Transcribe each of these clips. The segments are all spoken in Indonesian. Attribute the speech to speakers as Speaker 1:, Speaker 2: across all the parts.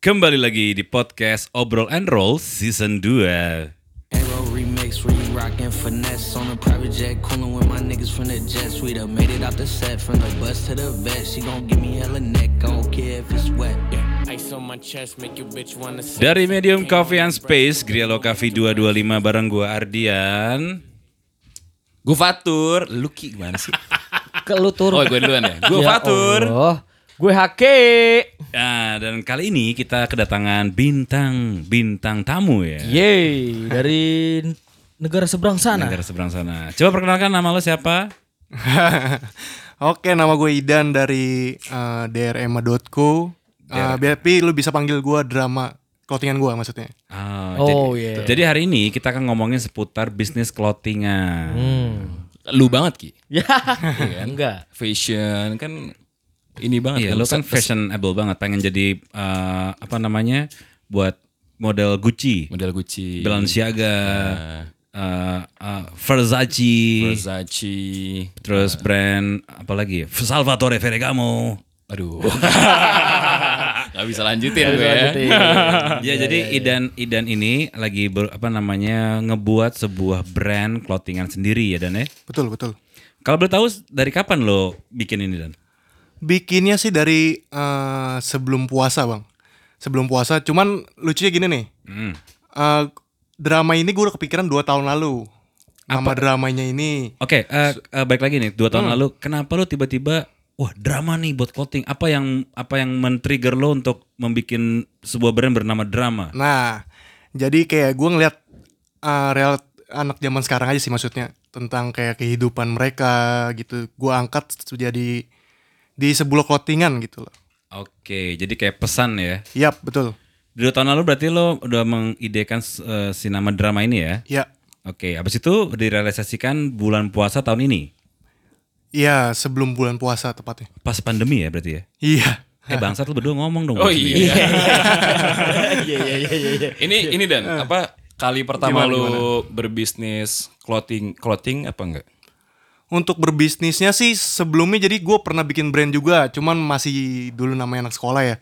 Speaker 1: Kembali lagi di podcast Obrol and Roll Season 2
Speaker 2: Arrow remix, where you rockin' finesse on a private jet, coolin' with my niggas from the jets. We done made it out the set from the bus to the vet. She gon' give me hella neck, I don't care if it's wet.
Speaker 3: Ice on my chest, make your bitch wanna sit.
Speaker 1: Dari Medium Coffee and Space Grialo Coffee 225 bareng gua Ardian Gua Fatur Lucky gimana sih?
Speaker 4: Ke lu turun.
Speaker 5: Oh gue duluan ya.
Speaker 1: Gua Fatur
Speaker 4: Allah. Oh, Gue hake.
Speaker 1: Nah, dan kali ini kita kedatangan bintang-bintang tamu ya
Speaker 4: Yeay, dari negara seberang sana.
Speaker 1: Negara seberang sana Coba perkenalkan nama lo siapa?
Speaker 6: Oke, nama gue Idan dari eh, drma.co. Eh, biar tapi lu bisa panggil gue drama clothingan gue maksudnya.
Speaker 1: Ah,
Speaker 4: Oh,
Speaker 1: jadi,
Speaker 4: iya.
Speaker 1: jadi hari ini kita akan ngomongin seputar bisnis clothingan
Speaker 5: Lu banget Ki.
Speaker 4: Ya. Enggak.
Speaker 5: Fashion kan ini banget
Speaker 1: Iya,
Speaker 5: kan.
Speaker 1: lo kan
Speaker 5: Ses-
Speaker 1: fashionable banget, pengen jadi eh, apa namanya buat model Gucci,
Speaker 5: model Gucci,
Speaker 1: Balenciaga, eh, eh, Versace, Ah.
Speaker 5: Versace.
Speaker 1: terus brand apa lagi? ya? Salvatore Ferragamo.
Speaker 5: Aduh. Gak bisa lanjutin gue ya.
Speaker 4: Lanjutin.
Speaker 1: ya jadi Idan Idan ini lagi ber- apa namanya ngebuat sebuah brand clothingan sendiri ya Dan ya.
Speaker 6: Betul, betul.
Speaker 1: Kalau boleh tahu dari kapan lo bikin ini Dan?
Speaker 6: Bikinnya sih dari eh, sebelum puasa, Bang. Sebelum puasa, cuman lucunya gini nih.
Speaker 1: Hmm.
Speaker 6: Eh, drama ini gue udah kepikiran 2 tahun lalu. Nama dramanya ini.
Speaker 1: Oke, eh eh, baik lagi nih. Dua tahun lalu, kenapa lo tiba-tiba, wah drama nih buat clothing. Apa yang apa yang men-trigger lo untuk membuat sebuah brand bernama drama?
Speaker 6: Nah, jadi kayak gue ngeliat eh, real anak zaman sekarang aja sih maksudnya tentang kayak kehidupan mereka gitu. Gue angkat jadi di sebuah clothingan gitu loh.
Speaker 1: Oke, jadi kayak pesan ya.
Speaker 6: Yap, betul.
Speaker 1: Dua tahun lalu berarti lo udah mengidekan eh, si nama drama ini ya?
Speaker 6: Ya,
Speaker 1: Oke, habis itu direalisasikan bulan puasa tahun ini.
Speaker 6: Iya, sebelum bulan puasa tepatnya.
Speaker 1: Pas pandemi ya berarti ya?
Speaker 6: Iya.
Speaker 1: Eh bangsat lo berdua ngomong dong.
Speaker 5: Oh iya.
Speaker 4: Iya, iya, iya, iya, iya.
Speaker 5: ini ini dan apa kali pertama lu berbisnis clothing clothing apa enggak?
Speaker 6: Untuk berbisnisnya sih sebelumnya jadi gue pernah bikin brand juga, cuman masih dulu namanya anak sekolah ya.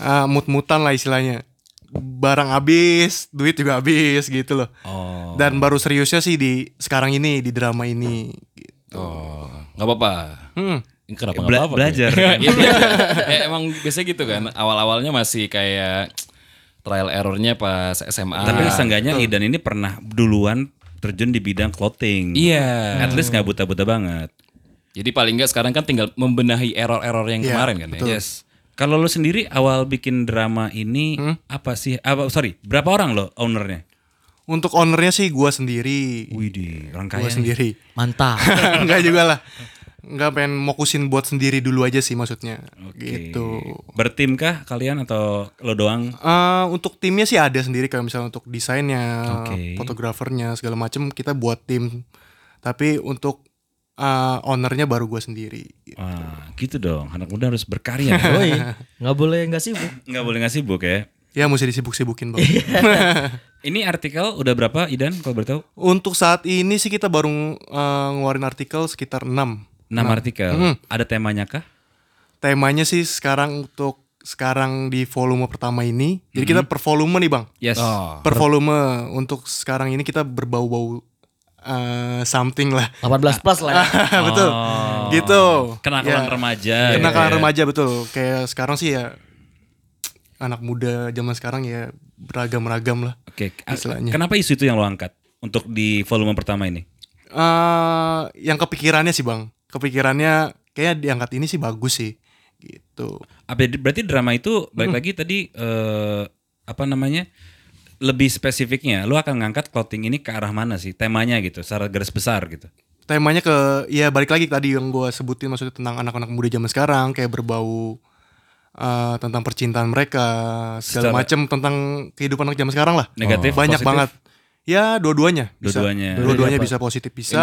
Speaker 6: Ah, mut-mutan lah istilahnya. Barang habis, duit juga habis gitu loh.
Speaker 1: Oh.
Speaker 6: Dan baru seriusnya sih di sekarang ini di drama ini.
Speaker 5: Oh, nggak apa-apa.
Speaker 6: Hmm.
Speaker 5: Kenapa nggak
Speaker 1: Bela-
Speaker 5: apa-apa?
Speaker 1: belajar.
Speaker 5: Iya, belajar. Ya, emang biasanya gitu kan. Awal-awalnya masih kayak trial errornya pas SMA.
Speaker 1: Tapi seenggaknya Idan ini pernah duluan terjun di bidang clothing.
Speaker 5: Iya.
Speaker 1: At least nggak buta-buta banget.
Speaker 5: Jadi paling nggak sekarang kan tinggal membenahi error-error yang
Speaker 6: Iya,
Speaker 5: kemarin kan ya.
Speaker 1: Yes. Kalau lo sendiri awal bikin drama ini apa sih? Apa sorry, berapa orang lo ownernya?
Speaker 6: Untuk ownernya sih gue sendiri.
Speaker 1: Widih, orang kaya.
Speaker 6: Gue
Speaker 1: nih.
Speaker 6: sendiri.
Speaker 4: Mantap.
Speaker 6: Enggak juga lah. Enggak pengen fokusin buat sendiri dulu aja sih maksudnya. Gitu.
Speaker 1: Bertim kah kalian atau lo doang?
Speaker 6: Eh, untuk timnya sih ada sendiri kayak misalnya untuk desainnya,
Speaker 1: Oke.
Speaker 6: fotografernya segala macem kita buat tim. Tapi untuk eh, ownernya baru gue sendiri.
Speaker 1: Wah, gitu dong. Anak muda harus berkarya.
Speaker 4: Woi, nggak boleh nggak sibuk.
Speaker 1: Nggak boleh ngasih sibuk ya.
Speaker 6: Ya mesti disibuk-sibukin
Speaker 1: Iya.
Speaker 6: banget.
Speaker 1: Ini artikel udah berapa Idan kalau boleh tahu?
Speaker 6: untuk saat ini sih kita baru eh, ngeluarin artikel sekitar 6
Speaker 1: Enam artikel. Ada temanya kah?
Speaker 6: Temanya sih sekarang untuk sekarang di volume pertama ini. Jadi kita per volume nih bang.
Speaker 1: Mhm. Yes.
Speaker 6: Per volume untuk sekarang ini kita berbau-bau eh, something lah.
Speaker 4: 18 plus lah ya.
Speaker 6: Betul. Gitu.
Speaker 1: Kenakalan
Speaker 6: Ya.
Speaker 1: remaja.
Speaker 6: kenakalan
Speaker 1: iya.
Speaker 6: remaja betul kayak sekarang sih ya anak muda zaman sekarang ya beragam-ragam lah
Speaker 1: Oke.
Speaker 6: Istilahnya.
Speaker 1: Kenapa isu itu yang lo angkat untuk di volume pertama ini?
Speaker 6: Eh, yang kepikirannya sih bang kepikirannya kayak diangkat ini sih bagus sih gitu
Speaker 1: Apa ya, berarti drama itu balik lagi tadi eh, apa namanya? Lebih spesifiknya, lu akan ngangkat clothing ini ke arah mana sih? Temanya gitu, secara garis besar gitu.
Speaker 6: temanya ke ya balik lagi tadi yang gue sebutin maksudnya tentang anak-anak muda zaman sekarang kayak berbau eh, tentang percintaan mereka segala
Speaker 1: Secara-
Speaker 6: macem tentang kehidupan anak zaman sekarang lah
Speaker 1: Negatif,
Speaker 6: banyak
Speaker 1: positif?
Speaker 6: banget ya dua-duanya bisa.
Speaker 1: Dua-duanya. Iya.
Speaker 6: dua-duanya bisa positif bisa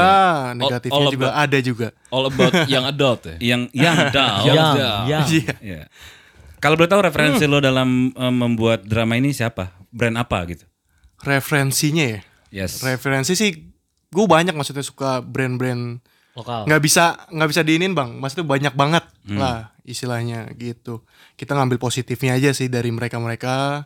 Speaker 6: negatifnya
Speaker 5: all
Speaker 6: juga ada juga
Speaker 5: All about young adult ya.
Speaker 1: Yang yang down.
Speaker 4: Yang, Mm. yang.
Speaker 6: iya
Speaker 1: Iya. Kalau boleh tahu referensi lo dalam eh, membuat drama ini siapa? Brand apa gitu?
Speaker 6: referensinya ya
Speaker 1: Yes.
Speaker 6: referensi sih gue banyak maksudnya suka brand-brand
Speaker 4: Lokal.
Speaker 6: nggak bisa nggak bisa diinin bang maksudnya banyak banget lah istilahnya gitu. Kita ngambil positifnya aja sih dari mereka-mereka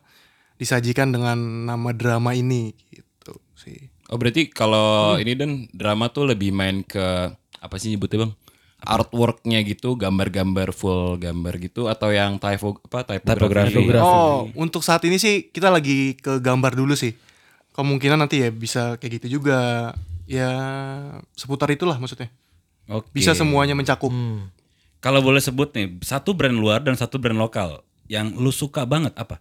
Speaker 6: disajikan dengan nama drama ini gitu sih.
Speaker 5: Oh berarti kalau ini dan drama tuh lebih main ke apa sih nyebutnya bang? Artworknya gitu, gambar-gambar full gambar gitu atau yang typo apa
Speaker 1: Typografi.
Speaker 5: typografi?
Speaker 1: Typografi.
Speaker 6: Oh, untuk saat ini sih kita lagi ke gambar dulu sih. Kemungkinan nanti ya bisa kayak gitu juga. Ya seputar itulah maksudnya.
Speaker 5: Oh,
Speaker 1: Oke.
Speaker 6: Bisa semuanya mencakup.
Speaker 1: Kalau boleh sebut nih, satu brand luar dan satu brand lokal yang lu suka banget apa?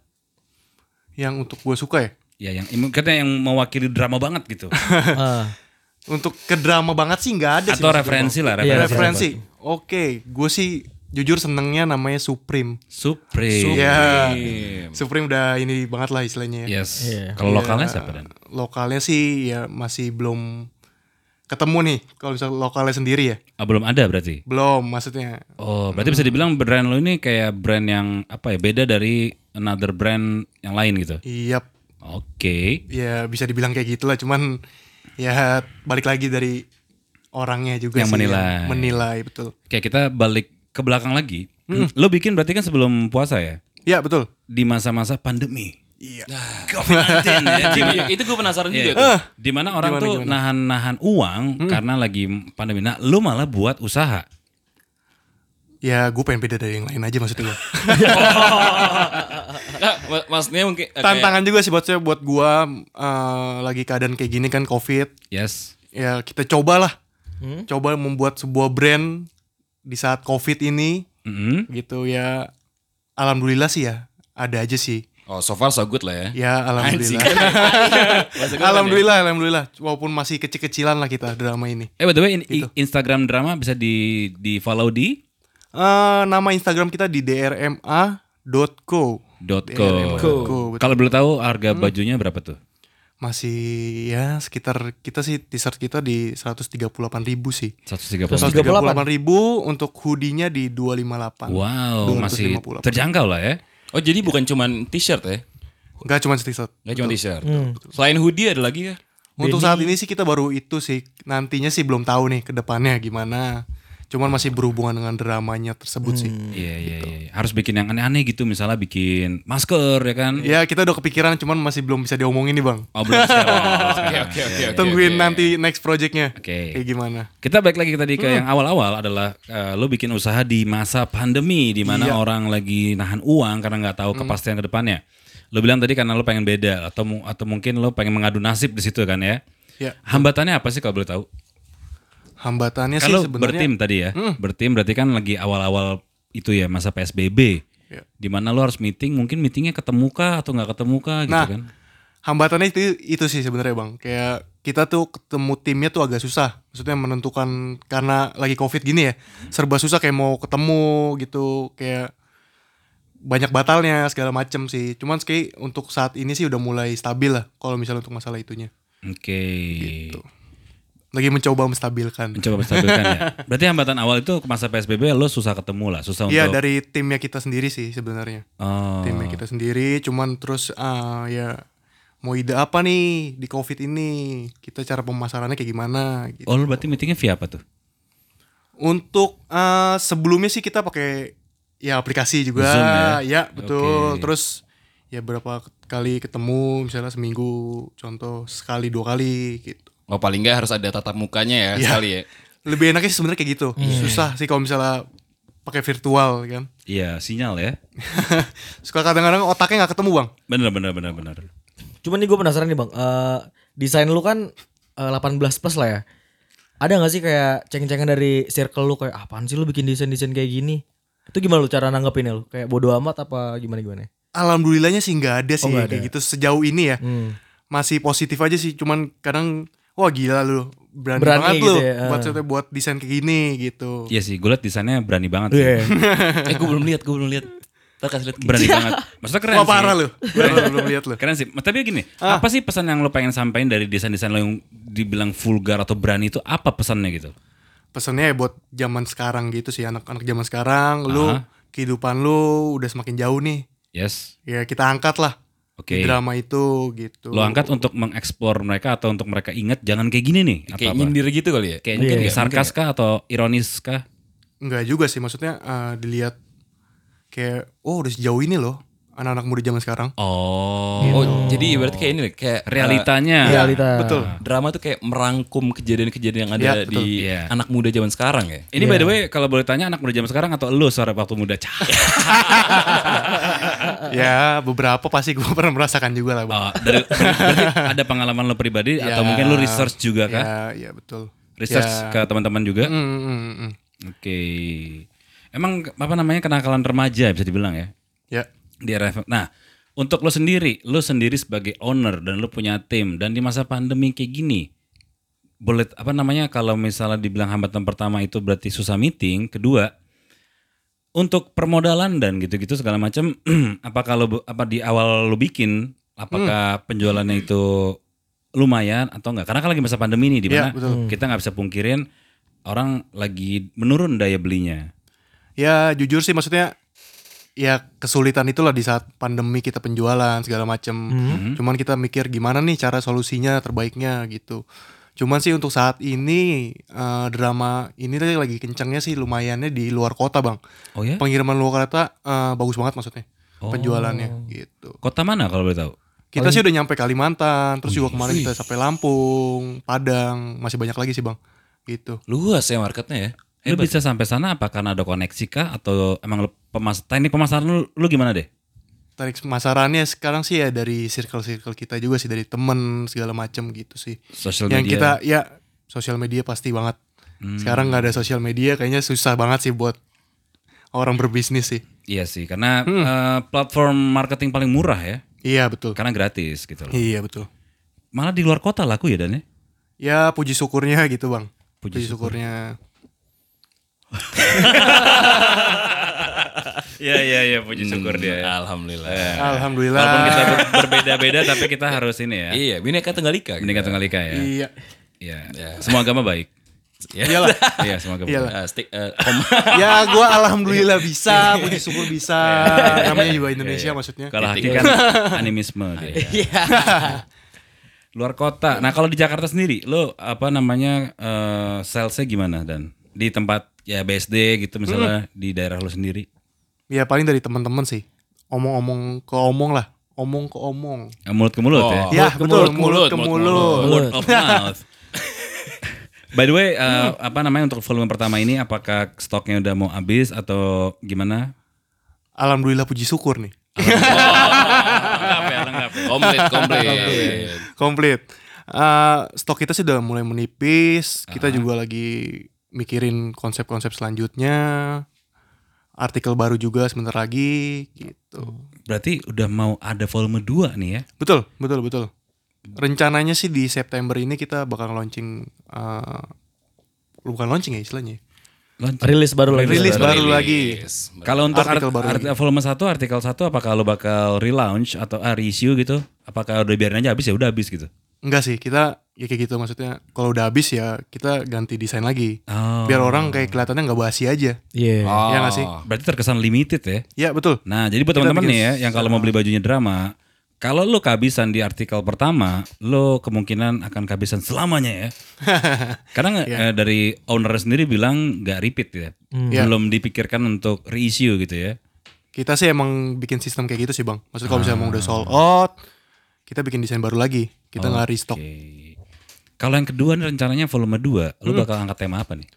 Speaker 6: Yang untuk gue suka ya.
Speaker 1: Ya yang katanya yang mewakili drama banget gitu.
Speaker 4: Ah.
Speaker 6: Untuk ke drama banget sih nggak ada sih.
Speaker 1: Atau
Speaker 6: maksud gua.
Speaker 1: referensi lah,
Speaker 4: Iya,
Speaker 1: referensi.
Speaker 6: referensi. Oke, gue sih jujur senengnya namanya Supreme.
Speaker 1: Supreme.
Speaker 6: Ya,
Speaker 1: Iya.
Speaker 6: Supreme udah ini banget lah istilahnya ya.
Speaker 1: Yes.
Speaker 4: Iya.
Speaker 1: Kalau
Speaker 6: Ya,
Speaker 1: lokalnya siapa dan?
Speaker 6: Lokalnya sih ya masih belum ketemu nih kalau misalnya lokalnya sendiri ya.
Speaker 1: Ah, belum ada berarti.
Speaker 6: Belum maksudnya.
Speaker 1: Oh, berarti bisa dibilang brand lo ini kayak brand yang apa ya? Beda dari another brand yang lain gitu.
Speaker 6: Iya,
Speaker 1: Oke.
Speaker 6: ya bisa dibilang kayak gitulah cuman ya balik lagi dari orangnya juga
Speaker 1: Yang
Speaker 6: sih ya.
Speaker 1: menilai.
Speaker 6: menilai betul.
Speaker 1: Kayak kita balik ke belakang lagi. Lo bikin berarti kan sebelum puasa ya?
Speaker 6: Ya, betul.
Speaker 1: Di masa-masa pandemi.
Speaker 6: Iya.
Speaker 1: COVID-19 ya, di-
Speaker 5: Iya, itu gue penasaran
Speaker 1: Iya,
Speaker 5: juga tuh.
Speaker 1: di mana orang tuh Hmm. nahan-nahan uang karena lagi pandemi. Nah, lu malah buat usaha.
Speaker 6: Ya, gue pengen beda dari yang lain aja maksudnya gua.
Speaker 5: Nah, ma- maksudnya mungkin eh, kayak-
Speaker 6: Tantangan juga sih buat saya buat gua eh, lagi keadaan kayak gini kan Covid.
Speaker 1: Yes.
Speaker 6: ya kita cobalah coba membuat sebuah brand di saat covid ini
Speaker 1: Mm-mm.
Speaker 6: gitu ya alhamdulillah sih ya ada aja sih
Speaker 5: Oh so far so good lah ya.
Speaker 6: ya
Speaker 5: Anjing.
Speaker 6: alhamdulillah
Speaker 5: Bahasa gue
Speaker 6: alhamdulillah alhamdulillah walaupun masih kecil-kecilan lah kita drama ini
Speaker 1: Eh by the way, in- i- Instagram drama bisa di di follow di
Speaker 6: Eh nama instagram kita di drma.co
Speaker 1: Iya, .co. Kalau belum tahu harga bajunya Hmm. berapa tuh?
Speaker 6: masih ya sekitar kita sih t-shirt kita di 138 ribu sih
Speaker 1: 130.
Speaker 6: 138 ribu untuk hoodie-nya di 258
Speaker 1: Wow, masih
Speaker 6: 258.
Speaker 1: terjangkau lah ya.
Speaker 5: nanya. Oh jadi bukan cuman t-shirt ya?
Speaker 6: nggak cuma t-shirt
Speaker 5: Gak cuma t-shirt.
Speaker 1: Hmm.
Speaker 5: Selain hoodie ada lagi ya?
Speaker 6: Untuk saat ini sih kita baru itu sih. Nantinya sih belum tahu nih ke depannya gimana. Cuman masih berhubungan dengan dramanya tersebut sih.
Speaker 1: Iya, iya,
Speaker 6: Gitu.
Speaker 1: iya. Harus bikin yang aneh-aneh gitu, misalnya bikin masker ya kan.
Speaker 6: Ya kita udah kepikiran cuman masih belum bisa diomongin nih bang.
Speaker 1: Oh, belum sekarang, belum sekarang.
Speaker 5: Oke oke oke.
Speaker 6: Tungguin nanti next projectnya.
Speaker 1: Oke.
Speaker 6: Kayak gimana.
Speaker 1: Kita balik lagi tadi
Speaker 6: Hmm.
Speaker 1: ke yang awal-awal adalah eh, lo bikin usaha di masa pandemi di mana
Speaker 6: Iya.
Speaker 1: orang lagi nahan uang karena nggak
Speaker 6: Hmm.
Speaker 1: tahu kepastian ke depannya. Lo bilang tadi karena lo pengen beda atau mu- atau mungkin lo pengen mengadu nasib di situ kan ya.
Speaker 6: Ya
Speaker 1: Hambatannya apa sih kalau boleh tahu?
Speaker 6: hambatannya
Speaker 1: kalau
Speaker 6: Iya sih
Speaker 1: Kan
Speaker 6: sebenarnya. Hmm.
Speaker 1: bertim tadi ya. Bertim berarti kan lagi awal-awal itu ya masa PSBB.
Speaker 6: Iya.
Speaker 1: Di mana lo harus meeting, mungkin meetingnya ketemu kah atau nggak ketemu kah gitu
Speaker 6: Nah
Speaker 1: kan.
Speaker 6: hambatannya itu itu sih sebenarnya bang. Kayak kita tuh ketemu timnya tuh agak susah. Maksudnya menentukan karena lagi covid gini ya. Serba susah kayak mau ketemu gitu. Kayak banyak batalnya segala macem sih. Cuman sekali untuk saat ini sih udah mulai stabil lah kalau misalnya untuk masalah itunya.
Speaker 1: Oke.
Speaker 6: Gitu. Lagi mencoba menstabilkan.
Speaker 1: Mencoba stabilkan ya. Berarti hambatan awal itu ke masa PSBB lo susah ketemu lah, susah
Speaker 6: Iya
Speaker 1: untuk
Speaker 6: dari timnya kita sendiri sih sebenarnya.
Speaker 1: Oh.
Speaker 6: Timnya kita sendiri cuman terus ah, ya mau ide apa nih di covid ini? Kita cara pemasarannya kayak gimana gitu.
Speaker 1: Oh, lu berarti meetingnya via apa tuh?
Speaker 6: Untuk eh, sebelumnya sih kita pakai ya aplikasi juga.
Speaker 1: Zoom ya?
Speaker 6: betul.
Speaker 1: Oke.
Speaker 6: Terus ya berapa kali ketemu misalnya seminggu contoh sekali dua kali gitu.
Speaker 5: Oh paling nggak harus ada tatap mukanya ya
Speaker 6: Iya.
Speaker 5: sekali ya.
Speaker 6: Lebih enaknya sih sebenarnya kayak gitu.
Speaker 4: Iya,
Speaker 6: Susah sih kalau misalnya pakai virtual kan.
Speaker 1: Iya, sinyal ya.
Speaker 6: Suka kadang-kadang otaknya nggak ketemu, Bang.
Speaker 1: Bener, bener, bener, bener.
Speaker 4: Cuman nih gue penasaran nih bang, Eh desain lu kan eh, 18 plus lah ya. Ada gak sih kayak ceng-cengan dari circle lu kayak apaan sih lu bikin desain-desain kayak gini? Itu gimana lu cara nanggepinnya lu? Kayak bodo amat apa gimana-gimana?
Speaker 6: Alhamdulillahnya sih nggak ada sih
Speaker 4: Oh, nggak ada.
Speaker 6: kayak gitu sejauh ini ya.
Speaker 4: Hmm.
Speaker 6: Masih positif aja sih, cuman kadang wah gila lu. Berani,
Speaker 4: Berani
Speaker 6: banget
Speaker 4: gitu
Speaker 6: lu
Speaker 4: ya,
Speaker 6: buat
Speaker 4: ah.
Speaker 6: buat desain kayak gini gitu.
Speaker 1: Iya sih, gue liat desainnya berani banget sih.
Speaker 4: Iya.
Speaker 5: eh gue belum lihat, gue belum lihat. Ntar kasih lihat.
Speaker 1: Berani banget. Maksudnya keren
Speaker 6: Wah
Speaker 1: sih.
Speaker 6: parah lu. Parah lu, belum lihat lu.
Speaker 1: Keren sih. Tapi gini, apa sih pesan yang lo pengen sampaikan dari desain-desain lo yang dibilang vulgar atau berani itu apa pesannya gitu?
Speaker 6: pesannya ya buat zaman sekarang gitu sih anak-anak zaman sekarang lu
Speaker 1: Aha.
Speaker 6: kehidupan lu udah semakin jauh nih
Speaker 1: Yes.
Speaker 6: ya kita angkat lah
Speaker 1: Oke.
Speaker 6: di drama itu gitu
Speaker 1: Lo angkat untuk mengeksplor mereka atau untuk mereka ingat jangan kayak gini nih.
Speaker 5: Kayak
Speaker 1: apa-apa.
Speaker 5: nyindir gitu kali ya.
Speaker 6: Iya.
Speaker 1: Kayak mungkin sarkas kah atau ironis kah?
Speaker 6: enggak juga sih maksudnya eh, dilihat kayak oh udah sejauh ini loh anak-anak muda zaman sekarang
Speaker 1: Oh,
Speaker 5: Oh, jadi berarti kayak ini nih, kayak
Speaker 1: realitanya.
Speaker 6: Iya,
Speaker 4: realita.
Speaker 6: betul
Speaker 5: eh, drama tuh kayak merangkum kejadian-kejadian yang ada
Speaker 6: Iya, betul.
Speaker 5: di
Speaker 1: Iya.
Speaker 5: anak muda zaman sekarang ya.
Speaker 1: Ini by the way kalau boleh tanya anak muda zaman sekarang atau lu suara waktu muda cah?
Speaker 6: ya beberapa pasti gue pernah merasakan juga lah Bang.
Speaker 1: Oh, dari, berarti ada pengalaman lo pribadi atau
Speaker 6: Ya.
Speaker 1: mungkin lu research juga kan?
Speaker 6: ya ya betul
Speaker 1: Research ke teman-teman juga.
Speaker 6: Mm, mm, mm, mm.
Speaker 1: Oke. Emang apa namanya kenakalan remaja bisa dibilang ya
Speaker 6: ya
Speaker 1: di RFM. Nah, untuk lo sendiri, lo sendiri sebagai owner dan lo punya tim dan di masa pandemi kayak gini, boleh apa namanya kalau misalnya dibilang hambatan pertama itu berarti susah meeting, kedua untuk permodalan dan gitu-gitu segala macam, apakah lo apa di awal lo bikin, apakah
Speaker 6: Hmm.
Speaker 1: penjualannya itu lumayan atau enggak? Karena kan lagi masa pandemi nih di mana
Speaker 6: Iya, betul.
Speaker 1: kita nggak bisa pungkirin orang lagi menurun daya belinya.
Speaker 6: Ya jujur sih maksudnya ya kesulitan itulah di saat pandemi kita penjualan segala macem.
Speaker 1: Hmm.
Speaker 6: Cuman kita mikir gimana nih cara solusinya terbaiknya gitu. Cuman sih untuk saat ini eh, drama ini tuh lagi kencangnya sih lumayannya di luar kota bang.
Speaker 1: Oh ya? Oh.
Speaker 6: Pengiriman luar kota eh, bagus banget maksudnya penjualannya gitu.
Speaker 1: Kota mana kalau boleh tahu?
Speaker 6: Kita sih udah nyampe Kalimantan, terus juga kemarin kita sampai Lampung, Padang, masih banyak lagi sih bang. Gitu.
Speaker 5: Luas ya marketnya ya.
Speaker 1: Lu bisa sampai sana apa karena ada koneksi kah atau emang lu pemas teknik pemasaran lu, lu gimana deh?
Speaker 6: tarik masarannya sekarang sih ya dari circle-circle kita juga sih dari temen segala macem gitu sih
Speaker 1: Social
Speaker 6: yang
Speaker 1: media. Hmm.
Speaker 6: kita ya sosial media pasti banget sekarang nggak ada sosial media kayaknya susah banget sih buat orang berbisnis sih
Speaker 1: Iya sih, karena eh, platform marketing paling murah ya,
Speaker 6: iya betul
Speaker 1: karena gratis gitu loh.
Speaker 6: iya betul
Speaker 1: Malah di luar kota laku ya Dan ya?
Speaker 6: ya puji syukurnya gitu bang
Speaker 1: Puji
Speaker 6: puji, syukurnya
Speaker 1: Iya iya iya puji syukur
Speaker 5: Hmm,
Speaker 1: Iya.
Speaker 5: Alhamdulillah.
Speaker 6: alhamdulillah
Speaker 1: Ya. Walaupun kita ber- berbeda-beda tapi kita harus ini ya.
Speaker 5: Iya, Bineka Tunggal Ika.
Speaker 1: Mendingan Tunggal Ika ya.
Speaker 6: iya
Speaker 1: Iya. Semua agama baik.
Speaker 5: Iyalah.
Speaker 1: Iya, semua agama.
Speaker 6: Iyalah.
Speaker 1: baik.
Speaker 5: Eh, stick, eh, kom-
Speaker 6: ya gua alhamdulillah bisa puji syukur bisa
Speaker 1: Ya.
Speaker 6: namanya juga Indonesia maksudnya
Speaker 1: Kalau haki kan animisme dia. Luar kota. Nah, kalau di Jakarta sendiri lo apa namanya eh, salesnya gimana Dan? Di tempat ya BSD gitu misalnya di daerah lo sendiri.
Speaker 6: ya paling dari teman-teman sih omong-omong ke omong lah omong ke omong
Speaker 1: Eh, Mulut ke mulut ya.
Speaker 6: Ya
Speaker 5: Mulut ke
Speaker 6: betul
Speaker 5: mulut,
Speaker 6: mulut ke
Speaker 5: mulut ke
Speaker 6: mulut.
Speaker 1: Word of mouth. By the way, eh, apa namanya untuk volume pertama ini apakah stoknya udah mau habis atau gimana?
Speaker 6: Alhamdulillah puji syukur nih.
Speaker 1: Lengkap ya, lengkap. ya.
Speaker 5: komplit, komplit.
Speaker 6: Komplit. Eh, stok kita sih udah mulai menipis. Kita juga lagi mikirin konsep-konsep selanjutnya. Artikel baru juga sebentar lagi
Speaker 5: Hmm.
Speaker 6: gitu.
Speaker 1: Berarti udah mau ada volume 2 nih ya.
Speaker 6: Betul, betul, betul. Rencananya sih di September ini kita bakal launching eh, bukan launching ya istilahnya.
Speaker 1: Launch.
Speaker 4: Rilis baru lagi.
Speaker 6: Rilis baru
Speaker 5: Rilis.
Speaker 6: lagi.
Speaker 1: Kalau untuk
Speaker 6: Artikel
Speaker 1: art-
Speaker 6: baru
Speaker 1: art- volume 1, artikel 1 apakah lo bakal relaunch atau ah, reissue gitu? Apakah udah biarin aja habis ya udah habis gitu?
Speaker 6: Enggak sih, kita ya kayak gitu maksudnya. Kalau udah habis ya kita ganti desain lagi.
Speaker 1: Oh.
Speaker 6: Biar orang kayak kelihatannya nggak basi aja.
Speaker 4: Iya.
Speaker 5: Oh.
Speaker 6: Iya nggak sih?
Speaker 1: Berarti terkesan limited ya.
Speaker 6: Ya betul.
Speaker 1: Nah, jadi buat teman-teman nih ya yang kalau mau beli bajunya drama, kalau lo kehabisan di artikel pertama, lo kemungkinan akan kehabisan selamanya ya. Karena
Speaker 6: Iya.
Speaker 1: nggak- eh, dari owner sendiri bilang nggak repeat ya.
Speaker 6: Hmm.
Speaker 1: Belum dipikirkan untuk reissue gitu ya.
Speaker 6: Kita sih emang bikin sistem kayak gitu sih bang. Maksudnya kalau
Speaker 1: Ah.
Speaker 6: misalnya emang udah sold out, kita bikin desain baru lagi. Kita nggak restock.
Speaker 1: Oke. Kalau yang kedua nih rencananya volume 2, lo
Speaker 6: Hmm.
Speaker 1: bakal angkat tema apa nih?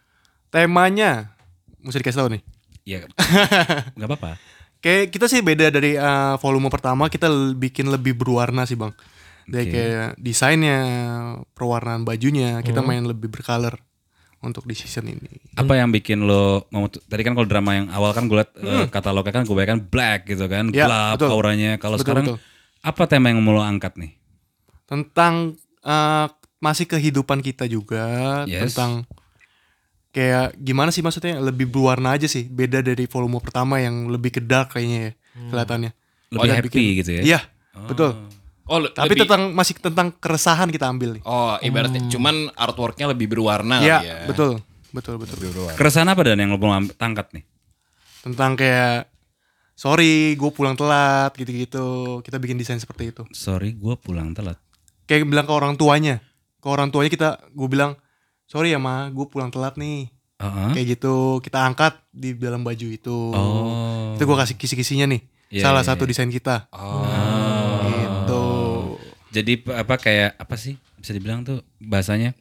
Speaker 6: Temanya, mesti dikasih tahu nih.
Speaker 1: Ya nggak apa-apa.
Speaker 6: Kayak kita sih beda dari uh, volume pertama, kita l- bikin lebih berwarna sih bang. Dari kayak desainnya, perwarnaan bajunya, kita
Speaker 1: Hmm.
Speaker 6: main lebih bercolor untuk di season ini.
Speaker 1: Apa yang bikin lo mau tadi kan kalau drama yang awal kan gue liat eh, katalognya kan gue bayangkan black gitu kan,
Speaker 6: Hmm. Ya,
Speaker 1: gelap
Speaker 6: betul.
Speaker 1: auranya. Kalau
Speaker 6: Betul,
Speaker 1: sekarang
Speaker 6: betul.
Speaker 1: apa tema yang mau lo angkat nih?
Speaker 6: Tentang uh, masih kehidupan kita juga,
Speaker 1: Yes.
Speaker 6: tentang kayak gimana sih maksudnya lebih berwarna aja sih. Beda dari volume pertama yang lebih ke dark kayaknya ya kelihatannya.
Speaker 1: Hmm. lebih
Speaker 6: Kita
Speaker 1: happy
Speaker 6: bikin-
Speaker 1: gitu ya.
Speaker 6: Iya, betul.
Speaker 5: Oh, le-
Speaker 6: Tapi
Speaker 5: lebih-
Speaker 6: tentang masih tentang keresahan kita ambil nih.
Speaker 5: Oh, ibaratnya
Speaker 1: Hmm.
Speaker 5: cuman artworknya lebih
Speaker 1: Oh,
Speaker 5: berwarna
Speaker 6: Iya,
Speaker 5: kali ya.
Speaker 6: betul. Betul, betul.
Speaker 1: Keresahan apa dan yang lo mau am- tangkat nih?
Speaker 6: Tentang kayak sorry gue pulang telat gitu-gitu. Kita bikin desain seperti itu.
Speaker 1: Sorry, gue pulang telat.
Speaker 6: Kayak bilang ke orang tuanya. Ke orang tuanya kita gue bilang, "Sorry ya, Ma, gue pulang telat nih."
Speaker 1: Heeh.
Speaker 6: kayak gitu kita angkat di dalam baju itu
Speaker 1: Oh.
Speaker 6: itu gua kasih kisi-kisinya nih
Speaker 1: Iya, iya,
Speaker 6: salah
Speaker 1: Oh.
Speaker 6: satu desain kita gitu
Speaker 1: Jadi p- apa kayak apa sih bisa dibilang tuh bahasanya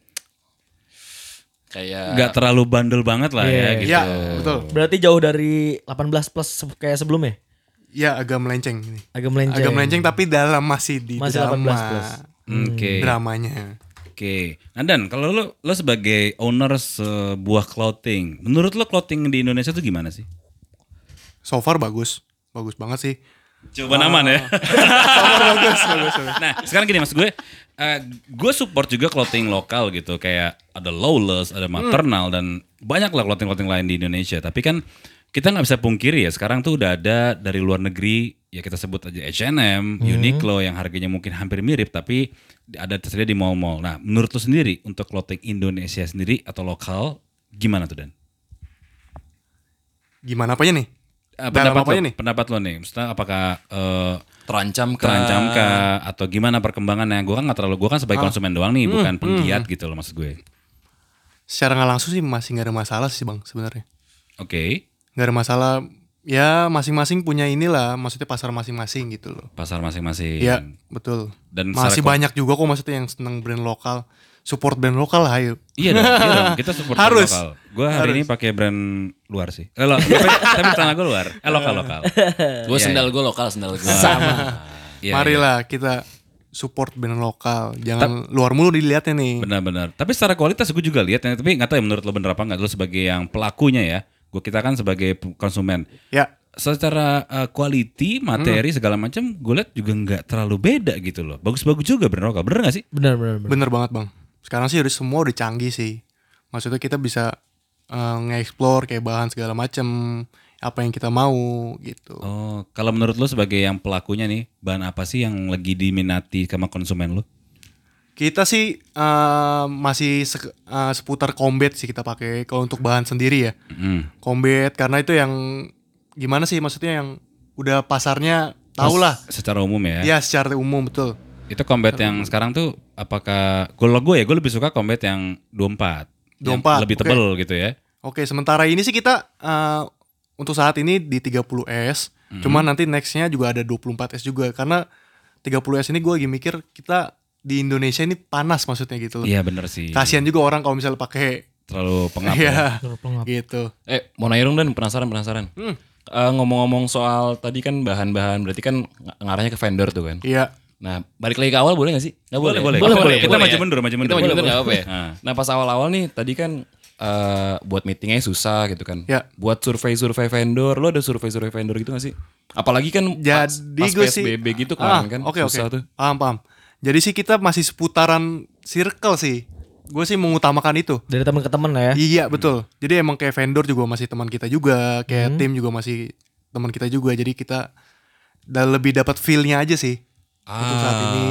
Speaker 5: Kayak
Speaker 1: nggak terlalu bandel banget lah ya gitu.
Speaker 6: Eh. ya betul
Speaker 4: Berarti jauh dari 18 plus se- kayak sebelumnya.
Speaker 6: ya agak melenceng ini
Speaker 4: Agak melenceng.
Speaker 6: agak melenceng tapi dalam masih di
Speaker 4: Masih
Speaker 6: drama
Speaker 4: 18 plus.
Speaker 1: Oke.
Speaker 6: dramanya
Speaker 1: Oke. Nah Dan kalau lo lo sebagai owner sebuah clothing, menurut lo clothing di Indonesia tuh gimana sih?
Speaker 6: so far bagus bagus banget sih
Speaker 1: Coba aman ya.
Speaker 6: Oh. bagus bagus, bagus.
Speaker 1: nah sekarang gini mas gue, eh, gue support juga clothing lokal gitu kayak ada Lawless, ada
Speaker 6: Hmm.
Speaker 1: Maternal dan banyak lah clothing clothing lain di Indonesia. Tapi kan kita nggak bisa pungkiri ya sekarang tuh udah ada dari luar negeri ya kita sebut aja
Speaker 6: Hmm.
Speaker 1: H&M, Uniqlo yang harganya mungkin hampir mirip tapi ada tersedia di mall-mall. Nah menurut lo sendiri untuk clothing Indonesia sendiri atau lokal gimana tuh Dan?
Speaker 6: gimana apanya nih
Speaker 1: Eh,
Speaker 6: Dalam
Speaker 1: pendapat lo,
Speaker 6: apanya nih?
Speaker 1: pendapat lo nih, maksudnya apakah eh,
Speaker 5: terancam kah?
Speaker 1: terancam kah atau gimana perkembangannya? Gue kan nggak terlalu, gue kan
Speaker 6: Ah.
Speaker 1: sebagai konsumen doang nih,
Speaker 6: Hmm,
Speaker 1: bukan penggiat gitu loh maksud gue.
Speaker 6: secara nggak langsung sih masih nggak ada masalah sih bang sebenarnya
Speaker 1: Oke,
Speaker 6: nggak ada masalah ya masing-masing punya inilah maksudnya pasar masing-masing gitu loh
Speaker 1: pasar masing-masing.
Speaker 6: Iya betul
Speaker 1: Dan
Speaker 6: masih
Speaker 1: secara-
Speaker 6: banyak juga kok maksudnya yang seneng brand lokal support brand lokal lah ayo
Speaker 1: Iya dong, iya dong. Kita support brand
Speaker 6: Harus.
Speaker 1: lokal. Gue hari ini pakai brand luar sih. Eh, lo, tapi tanah gue luar. Eh, lokal lokal.
Speaker 5: Gue sendal gue lokal sendal gue.
Speaker 1: Iya, iya.
Speaker 6: marilah kita support brand lokal jangan luar mulu dilihatnya nih
Speaker 1: Benar-benar. Tapi secara kualitas gue juga lihat, ya. tapi nggak tahu ya menurut lo bener apa nggak. Lo sebagai yang pelakunya ya, gue kita kan sebagai konsumen.
Speaker 6: ya
Speaker 1: secara uh, quality
Speaker 6: Hmm.
Speaker 1: materi segala macam gue lihat juga nggak terlalu beda gitu loh bagus-bagus juga bener lokal bener gak sih
Speaker 4: Benar benar benar.
Speaker 6: bener banget bang sekarang sih udah semua udah canggih sih maksudnya kita bisa eh, nge-explore kayak bahan segala macem apa yang kita mau gitu
Speaker 1: oh kalau menurut lo sebagai yang pelakunya nih bahan apa sih yang lagi diminati sama konsumen lo
Speaker 6: Kita sih eh, masih sek- eh, seputar combat sih kita pakai kalau untuk bahan sendiri ya.
Speaker 1: Mm.
Speaker 6: Combat karena itu yang gimana sih maksudnya yang udah pasarnya tau lah.
Speaker 1: secara umum ya
Speaker 6: Ya secara umum betul.
Speaker 1: itu combat yang sekarang tuh apakah kalau gue ya gue lebih suka combat yang 24 Yang
Speaker 6: 24,
Speaker 1: lebih
Speaker 6: oke.
Speaker 1: tebel gitu ya
Speaker 6: Oke, sementara ini sih kita eh, untuk saat ini di 30S.
Speaker 1: Mm-hmm.
Speaker 6: Cuman nanti nextnya juga ada 24S juga karena 30S ini gue lagi mikir kita di Indonesia ini panas maksudnya gitu loh.
Speaker 1: iya bener sih
Speaker 6: Kasihan juga orang kalau misalnya pakai
Speaker 1: terlalu pengap ya.
Speaker 6: ya
Speaker 4: Terlalu pengap.
Speaker 6: gitu.
Speaker 5: Eh, mau nanya dong dan penasaran penasaran.
Speaker 1: Hmm.
Speaker 5: Eh, ngomong-ngomong soal tadi kan bahan-bahan berarti kan ng- ngarahnya ke vendor tuh kan.
Speaker 6: Iya.
Speaker 5: Nah, balik lagi ke awal boleh gak sih? Nggak
Speaker 1: Boleh, boleh.
Speaker 5: Oh,
Speaker 1: Kita kita maju
Speaker 5: ya?
Speaker 1: mundur, maju
Speaker 5: Kita
Speaker 1: mundur.
Speaker 5: maju mundur
Speaker 1: Boleh,
Speaker 5: nggak apa-apa ya?
Speaker 1: boleh.
Speaker 5: Nah, pas awal-awal nih tadi kan eh buat meetingnya susah gitu kan.
Speaker 6: Ya.
Speaker 5: Buat survei-survei vendor, lo ada survei-survei vendor gitu gak sih? Apalagi kan pas,
Speaker 6: Jadi
Speaker 5: pas
Speaker 6: gue sih
Speaker 5: PSBB gitu
Speaker 6: Ah,
Speaker 5: kemarin kan
Speaker 6: Oke oke.
Speaker 5: susah tuh.
Speaker 6: Paham paham. Jadi sih kita masih seputaran circle sih. Gue sih mengutamakan itu.
Speaker 4: Dari teman ke teman lah
Speaker 5: Eh.
Speaker 4: ya.
Speaker 6: Iya betul. Jadi emang kayak vendor juga masih teman kita juga, kayak
Speaker 5: Hmm.
Speaker 6: tim juga masih teman kita juga. Jadi kita udah lebih dapat feel-nya aja sih. Untuk saat
Speaker 5: Ah.
Speaker 6: ini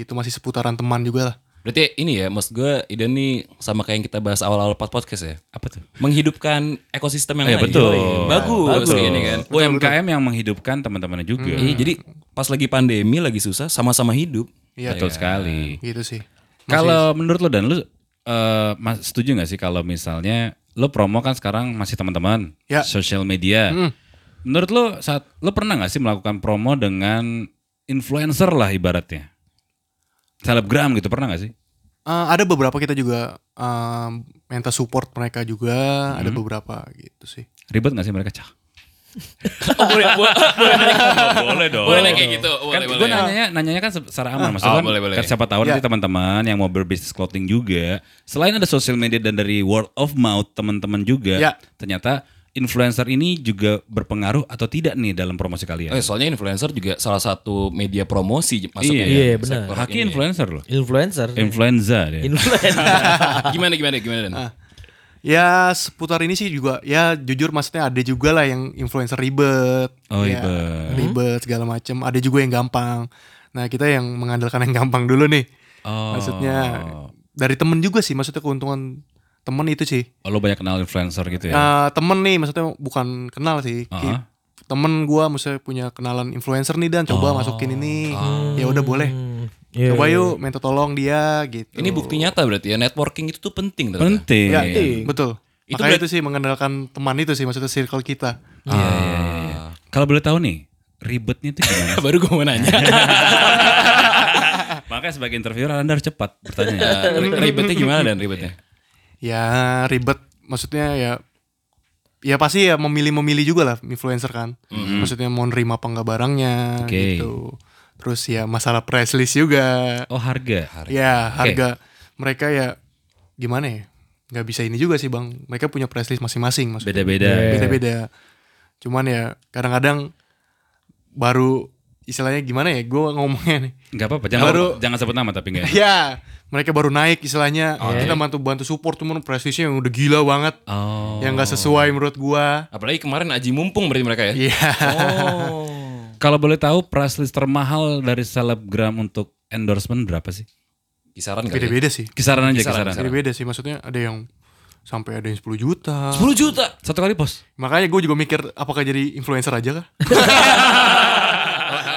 Speaker 6: gitu masih seputaran teman juga lah.
Speaker 5: Berarti ini ya, maksud gue ide nih sama kayak yang kita bahas awal-awal pod- podcast ya.
Speaker 1: apa tuh
Speaker 5: Menghidupkan ekosistem
Speaker 1: Eh,
Speaker 5: yang lain.
Speaker 1: betul.
Speaker 5: iya, Bagus,
Speaker 1: Bagus. Oh,
Speaker 5: kayak gini kan.
Speaker 1: UMKM yang menghidupkan teman-temannya juga.
Speaker 5: Iya, jadi pas lagi pandemi lagi susah sama-sama hidup.
Speaker 6: Iya.
Speaker 1: Betul sekali.
Speaker 6: Gitu sih.
Speaker 1: Kalau menurut lo dan lo eh, mas- setuju nggak sih kalau misalnya lo promo kan sekarang masih teman-teman
Speaker 6: Ya.
Speaker 1: social media. Menurut lo saat lo pernah nggak sih melakukan promo dengan influencer lah ibaratnya? Selebgram gitu pernah nggak sih?
Speaker 6: Eh, ada beberapa kita juga eh, minta support mereka juga,
Speaker 5: Hmm.
Speaker 6: ada beberapa gitu sih.
Speaker 1: Ribet nggak sih mereka cah?
Speaker 5: Oh, boleh, boleh,
Speaker 1: boleh dong.
Speaker 5: kayak gitu.
Speaker 1: Kan
Speaker 5: Boleh,
Speaker 1: gue
Speaker 5: boleh.
Speaker 1: nanyanya, nanyanya kan se- secara aman maksudnya
Speaker 5: Oh,
Speaker 1: kan,
Speaker 5: boleh, boleh.
Speaker 1: kan siapa tahu
Speaker 6: Ya.
Speaker 1: nanti teman-teman yang mau berbisnis clothing juga selain ada social media dan dari word of mouth teman-teman juga
Speaker 6: Ya.
Speaker 1: ternyata influencer ini juga berpengaruh atau tidak nih dalam promosi kalian
Speaker 5: Eh, soalnya influencer juga salah satu media promosi masuknya.
Speaker 1: Iya,
Speaker 5: ya,
Speaker 4: iya, benar. Iya.
Speaker 5: sektor
Speaker 1: Haki
Speaker 5: ini ya.
Speaker 1: influencer loh
Speaker 4: Influencer.
Speaker 1: influenza dia
Speaker 4: Influencer.
Speaker 5: gimana gimana gimana Dan?
Speaker 6: Ya seputar ini sih juga ya jujur maksudnya ada juga lah yang influencer ribet,
Speaker 1: Oh,
Speaker 6: ya,
Speaker 1: ribet.
Speaker 6: ribet segala macem. Ada juga yang gampang. Nah kita yang mengandalkan yang gampang dulu nih.
Speaker 1: Oh.
Speaker 6: Maksudnya dari temen juga sih, maksudnya keuntungan temen itu sih.
Speaker 1: Oh, lo banyak kenal influencer gitu ya
Speaker 6: Nah, temen nih maksudnya bukan kenal sih. Ki-
Speaker 1: Uh-huh.
Speaker 6: Temen gua maksudnya punya kenalan influencer nih dan
Speaker 1: Oh.
Speaker 6: coba masukin ini.
Speaker 1: Ah.
Speaker 6: Ya udah boleh.
Speaker 4: Iya,
Speaker 6: Coba
Speaker 4: iya,
Speaker 6: yuk minta tolong dia gitu.
Speaker 5: Ini bukti nyata berarti ya networking itu tuh penting. ternyata.
Speaker 1: penting Iya,
Speaker 6: Ya, betul.
Speaker 5: Itu
Speaker 6: Makanya
Speaker 5: berarti-
Speaker 6: itu sih mengandalkan teman itu sih maksudnya circle kita.
Speaker 1: Iya, iya, iya. Kalau boleh tahu nih, ribetnya itu gimana?
Speaker 5: Baru gue mau nanya.
Speaker 1: Makanya sebagai interviewer Anda harus cepat bertanya.
Speaker 5: Eh, ri- ribetnya gimana dan ribetnya?
Speaker 6: Ya ribet maksudnya ya ya pasti ya memilih-memilih juga lah influencer kan. Maksudnya mau nerima apa enggak barangnya
Speaker 1: Oke.
Speaker 6: gitu. Terus ya masalah price list juga.
Speaker 1: Oh harga.
Speaker 6: Ya harga mereka ya gimana ya? Nggak bisa ini juga sih bang. Mereka punya price list masing-masing maksudnya.
Speaker 1: Beda-beda.
Speaker 6: beda-beda. Cuman ya kadang-kadang baru istilahnya gimana ya gue ngomongnya nih.
Speaker 1: Enggak apa-apa, jangan
Speaker 6: Baru-
Speaker 1: jangan sebut nama tapi enggak.
Speaker 6: ya mereka baru naik istilahnya
Speaker 1: iya.
Speaker 6: kita bantu bantu support cuman prestisnya yang udah gila banget
Speaker 1: Oh.
Speaker 6: yang nggak sesuai menurut gua.
Speaker 5: Apalagi kemarin Aji Mumpung berarti mereka ya.
Speaker 6: Iya.
Speaker 1: Kalau boleh tahu price list termahal dari selebgram untuk endorsement berapa sih?
Speaker 5: Kisaran kali ya?
Speaker 6: Beda-beda sih.
Speaker 1: Kisaran aja
Speaker 5: Kisaran,
Speaker 1: kisaran.
Speaker 6: Beda-beda sih maksudnya ada yang sampai ada yang 10 juta.
Speaker 1: 10 juta satu kali post.
Speaker 6: Makanya gue juga mikir apakah jadi influencer aja kah?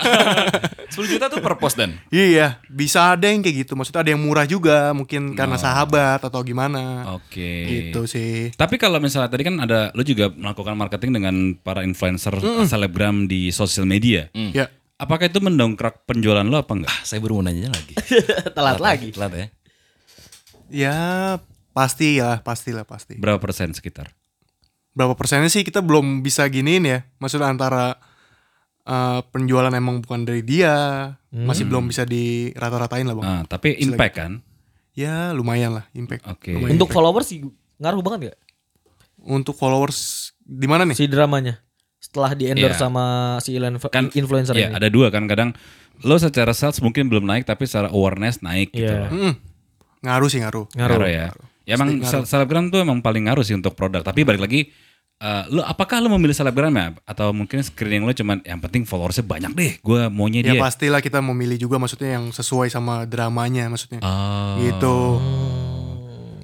Speaker 5: 10 juta tuh per post dan.
Speaker 6: iya, bisa ada yang kayak gitu. Maksudnya ada yang murah juga, mungkin karena sahabat atau gimana.
Speaker 1: Oh. Oke.
Speaker 6: Gitu sih.
Speaker 1: Tapi kalau misalnya tadi kan ada lu juga melakukan marketing dengan para influencer selebgram di sosial media.
Speaker 6: Ya.
Speaker 1: Apakah itu mendongkrak penjualan lo apa enggak?
Speaker 5: Ah, Saya baru mau nanya lagi.
Speaker 4: Telat lagi.
Speaker 5: Telat ya.
Speaker 6: Ya, pasti ya, pastilah pasti.
Speaker 1: Berapa persen sekitar?
Speaker 6: berapa persennya sih kita belum bisa giniin ya maksudnya antara eh, penjualan emang bukan dari dia masih belum bisa dirata-ratain lah bang
Speaker 1: Ah, tapi impact kan?
Speaker 6: ya lumayan lah impact
Speaker 1: Oke.
Speaker 6: Lumayan.
Speaker 4: Untuk followers sih ngaruh banget gak
Speaker 6: untuk followers di mana nih
Speaker 4: si dramanya? Setelah di
Speaker 1: Iya.
Speaker 4: endorse sama si ilan-
Speaker 1: Kan-
Speaker 4: influencer
Speaker 1: Iya,
Speaker 4: ini.
Speaker 1: ada dua kan kadang lo secara sales mungkin belum naik tapi secara awareness naik gitu loh.
Speaker 4: Iya.
Speaker 6: Mm-mm. Hmm. ngaruh sih ngaruh
Speaker 4: Ngaruh.
Speaker 1: Ngaruh ya. Ya emang sel- selebgram tuh emang paling ngaruh sih untuk produk. Tapi balik lagi, eh, lo apakah lo memilih selebgram ya? Atau mungkin screening lo cuman yang penting followersnya banyak deh. Gue maunya
Speaker 6: ya
Speaker 1: dia.
Speaker 6: pastilah kita memilih juga maksudnya yang sesuai sama dramanya maksudnya gitu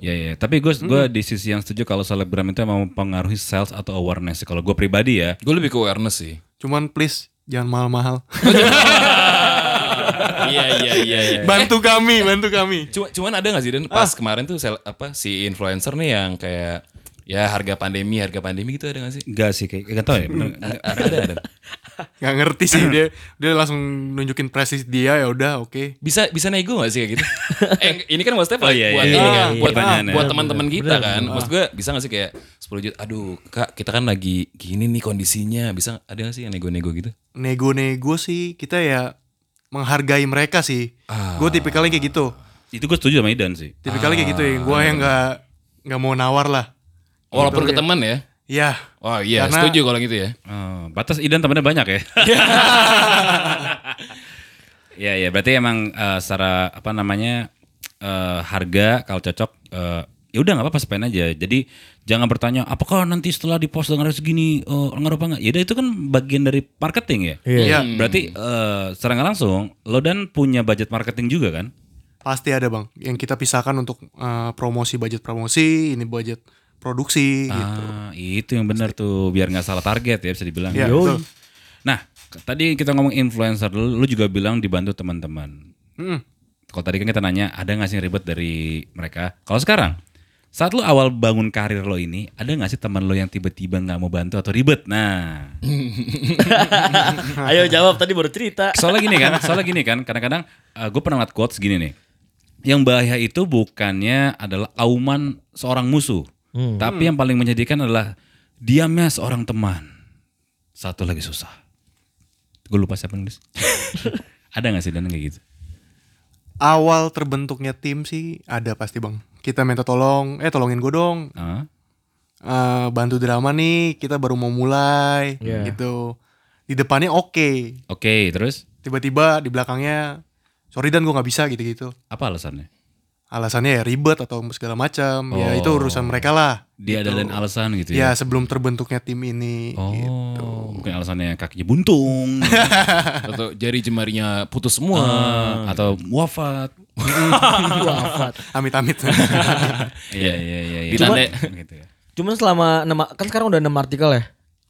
Speaker 1: Ya ya. Tapi gue gua di sisi yang setuju kalau selebgram itu emang mempengaruhi sales atau awareness. Kalau gue pribadi ya,
Speaker 5: Gue lebih ke awareness sih.
Speaker 6: cuman please jangan mahal-mahal
Speaker 5: Iya iya iya. iya.
Speaker 6: bantu kami bantu kami
Speaker 5: Cuma, cuman ada gak sih dan
Speaker 1: Ah.
Speaker 5: pas kemarin tuh sel- apa si influencer nih yang kayak ya harga pandemi harga pandemi gitu ada gak sih?
Speaker 1: enggak sih kayak enggak tahu ya. bener nggak?
Speaker 5: Ada ada. ada.
Speaker 6: nggak ngerti sih dia dia langsung nunjukin prestis dia ya udah oke
Speaker 5: Bisa bisa nego gak sih kayak gitu? eh, ini kan maksudnya buat
Speaker 1: Oh, iya,
Speaker 5: buat
Speaker 1: iya,
Speaker 5: ini
Speaker 1: iya,
Speaker 5: kan,
Speaker 1: iya,
Speaker 5: buat,
Speaker 1: pertanyaannya.
Speaker 5: buat teman-teman kita kan. Maksud gue bisa gak sih kayak 10 juta. Aduh, Kak, kita kan lagi gini nih kondisinya. Bisa ada gak sih yang nego-nego gitu?
Speaker 1: Iya,
Speaker 6: nego-nego sih kita ya menghargai mereka sih. Gue
Speaker 1: Ah.
Speaker 6: tipikalnya kayak gitu.
Speaker 1: Itu gue setuju sama Idan sih.
Speaker 6: Tipikalnya kayak
Speaker 1: Ah.
Speaker 6: gitu ya. Gue yang nggak nggak mau nawar lah.
Speaker 1: iya.
Speaker 5: Walaupun ke teman ya.
Speaker 6: Ya,
Speaker 5: Oh iya,
Speaker 6: Karena-
Speaker 5: setuju kalau gitu ya.
Speaker 1: Oh, batas Idan temennya banyak ya. Ya ya, berarti emang eh, secara apa namanya eh, harga kalau cocok eh, ya udah nggak apa-apa sepain aja. Jadi jangan bertanya apakah nanti setelah di post dengan harga segini eh, ngaruh apa enggak. Ya udah, itu kan bagian dari marketing ya.
Speaker 6: Iya.
Speaker 1: Berarti eh, secara nggak langsung lo dan punya budget marketing juga kan?
Speaker 6: pasti ada bang. Yang kita pisahkan untuk eh, promosi budget promosi, ini budget produksi. gitu.
Speaker 1: Ah, itu yang benar tuh biar nggak salah target ya bisa dibilang.
Speaker 6: Ya, betul.
Speaker 1: Nah, k- tadi kita ngomong influencer, lu, lu juga bilang dibantu teman-teman.
Speaker 6: Mm.
Speaker 1: Kalau tadi kan kita nanya ada nggak sih yang ribet dari mereka? Kalau sekarang, saat lu awal bangun karir lo ini, ada nggak sih teman lo yang tiba-tiba nggak mau bantu atau ribet? Nah,
Speaker 4: Ayo jawab tadi baru cerita.
Speaker 1: soalnya gini kan, soalnya gini kan, kadang-kadang gue pernah ngeliat quotes gini nih. Yang bahaya itu bukannya adalah auman seorang musuh, tapi yang paling menjadikan adalah diamnya seorang teman. Satu lagi susah. Gue lupa siapa yang nulis. Ada gak sih Dan yang kayak gitu?
Speaker 6: Awal terbentuknya tim sih ada pasti bang. Kita minta tolong, eh tolongin gue dong,
Speaker 1: Ah,
Speaker 6: eh, bantu drama nih. Kita baru mau mulai,
Speaker 1: Iya.
Speaker 6: gitu. Di depannya oke,
Speaker 1: Oke, terus
Speaker 6: tiba-tiba di belakangnya, sorry dan gue nggak bisa gitu-gitu.
Speaker 1: apa alasannya?
Speaker 6: alasannya ya ribet atau segala macam ya
Speaker 4: Oh.
Speaker 6: itu urusan mereka lah
Speaker 1: Dia ada dan alasan gitu
Speaker 6: ya
Speaker 4: Iya.
Speaker 1: ya?
Speaker 6: sebelum terbentuknya tim ini
Speaker 1: oh,
Speaker 6: gitu.
Speaker 1: mungkin alasannya kakinya buntung
Speaker 5: Atau jari jemarinya putus semua.
Speaker 1: ah, atau wafat.
Speaker 6: amit-amit Eh,
Speaker 1: Iya iya iya. iya.
Speaker 5: Ditandai.
Speaker 1: gitu ya.
Speaker 4: Cuman selama enam kan sekarang udah 6 artikel ya.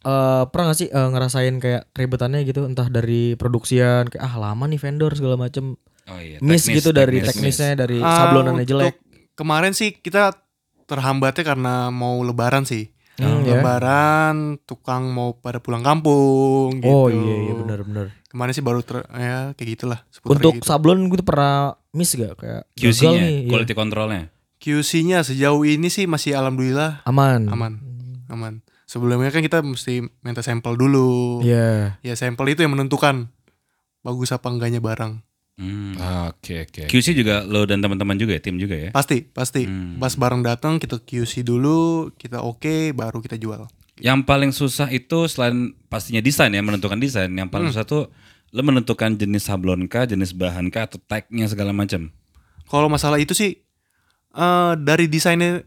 Speaker 4: Eh pernah gak sih eh, ngerasain kayak keribetannya gitu entah dari produksian kayak ah lama nih vendor segala macem
Speaker 1: Oh iya.
Speaker 4: miss
Speaker 1: teknis,
Speaker 4: gitu dari
Speaker 1: teknis.
Speaker 4: teknisnya dari
Speaker 6: Ah,
Speaker 4: sablonannya
Speaker 6: untuk
Speaker 4: jelek
Speaker 6: kemarin sih kita terhambatnya karena mau lebaran sih.
Speaker 4: Hmm, ya.
Speaker 6: lebaran, tukang mau pada pulang kampung gitu.
Speaker 4: Oh iya iya benar-benar.
Speaker 6: Kemarin sih baru ter- ya kayak gitulah. seputar
Speaker 4: Untuk
Speaker 6: gitu.
Speaker 4: sablon gue tuh pernah miss gak kayak gagal nih,
Speaker 1: QC-nya,
Speaker 4: iya.
Speaker 1: quality control-nya.
Speaker 6: QC-nya sejauh ini sih masih alhamdulillah
Speaker 4: aman.
Speaker 6: aman.
Speaker 4: Hmm.
Speaker 6: Aman. Sebelumnya kan kita mesti minta sampel dulu.
Speaker 4: Iya.
Speaker 6: Ya sampel itu yang menentukan bagus apa enggaknya barang.
Speaker 1: Hmm.
Speaker 5: Ah, Oke oke.
Speaker 1: QC juga lo dan teman-teman juga ya, tim juga ya.
Speaker 6: Pasti, pasti.
Speaker 1: Hmm.
Speaker 6: Pas barang datang kita QC dulu, kita oke, baru kita jual.
Speaker 1: Yang paling susah itu selain pastinya desain ya, menentukan desain. Yang paling
Speaker 4: Hmm.
Speaker 1: susah tuh lo menentukan jenis sablon kah, jenis bahan kah, atau tag-nya segala macam.
Speaker 6: Kalau masalah itu sih eh dari desainnya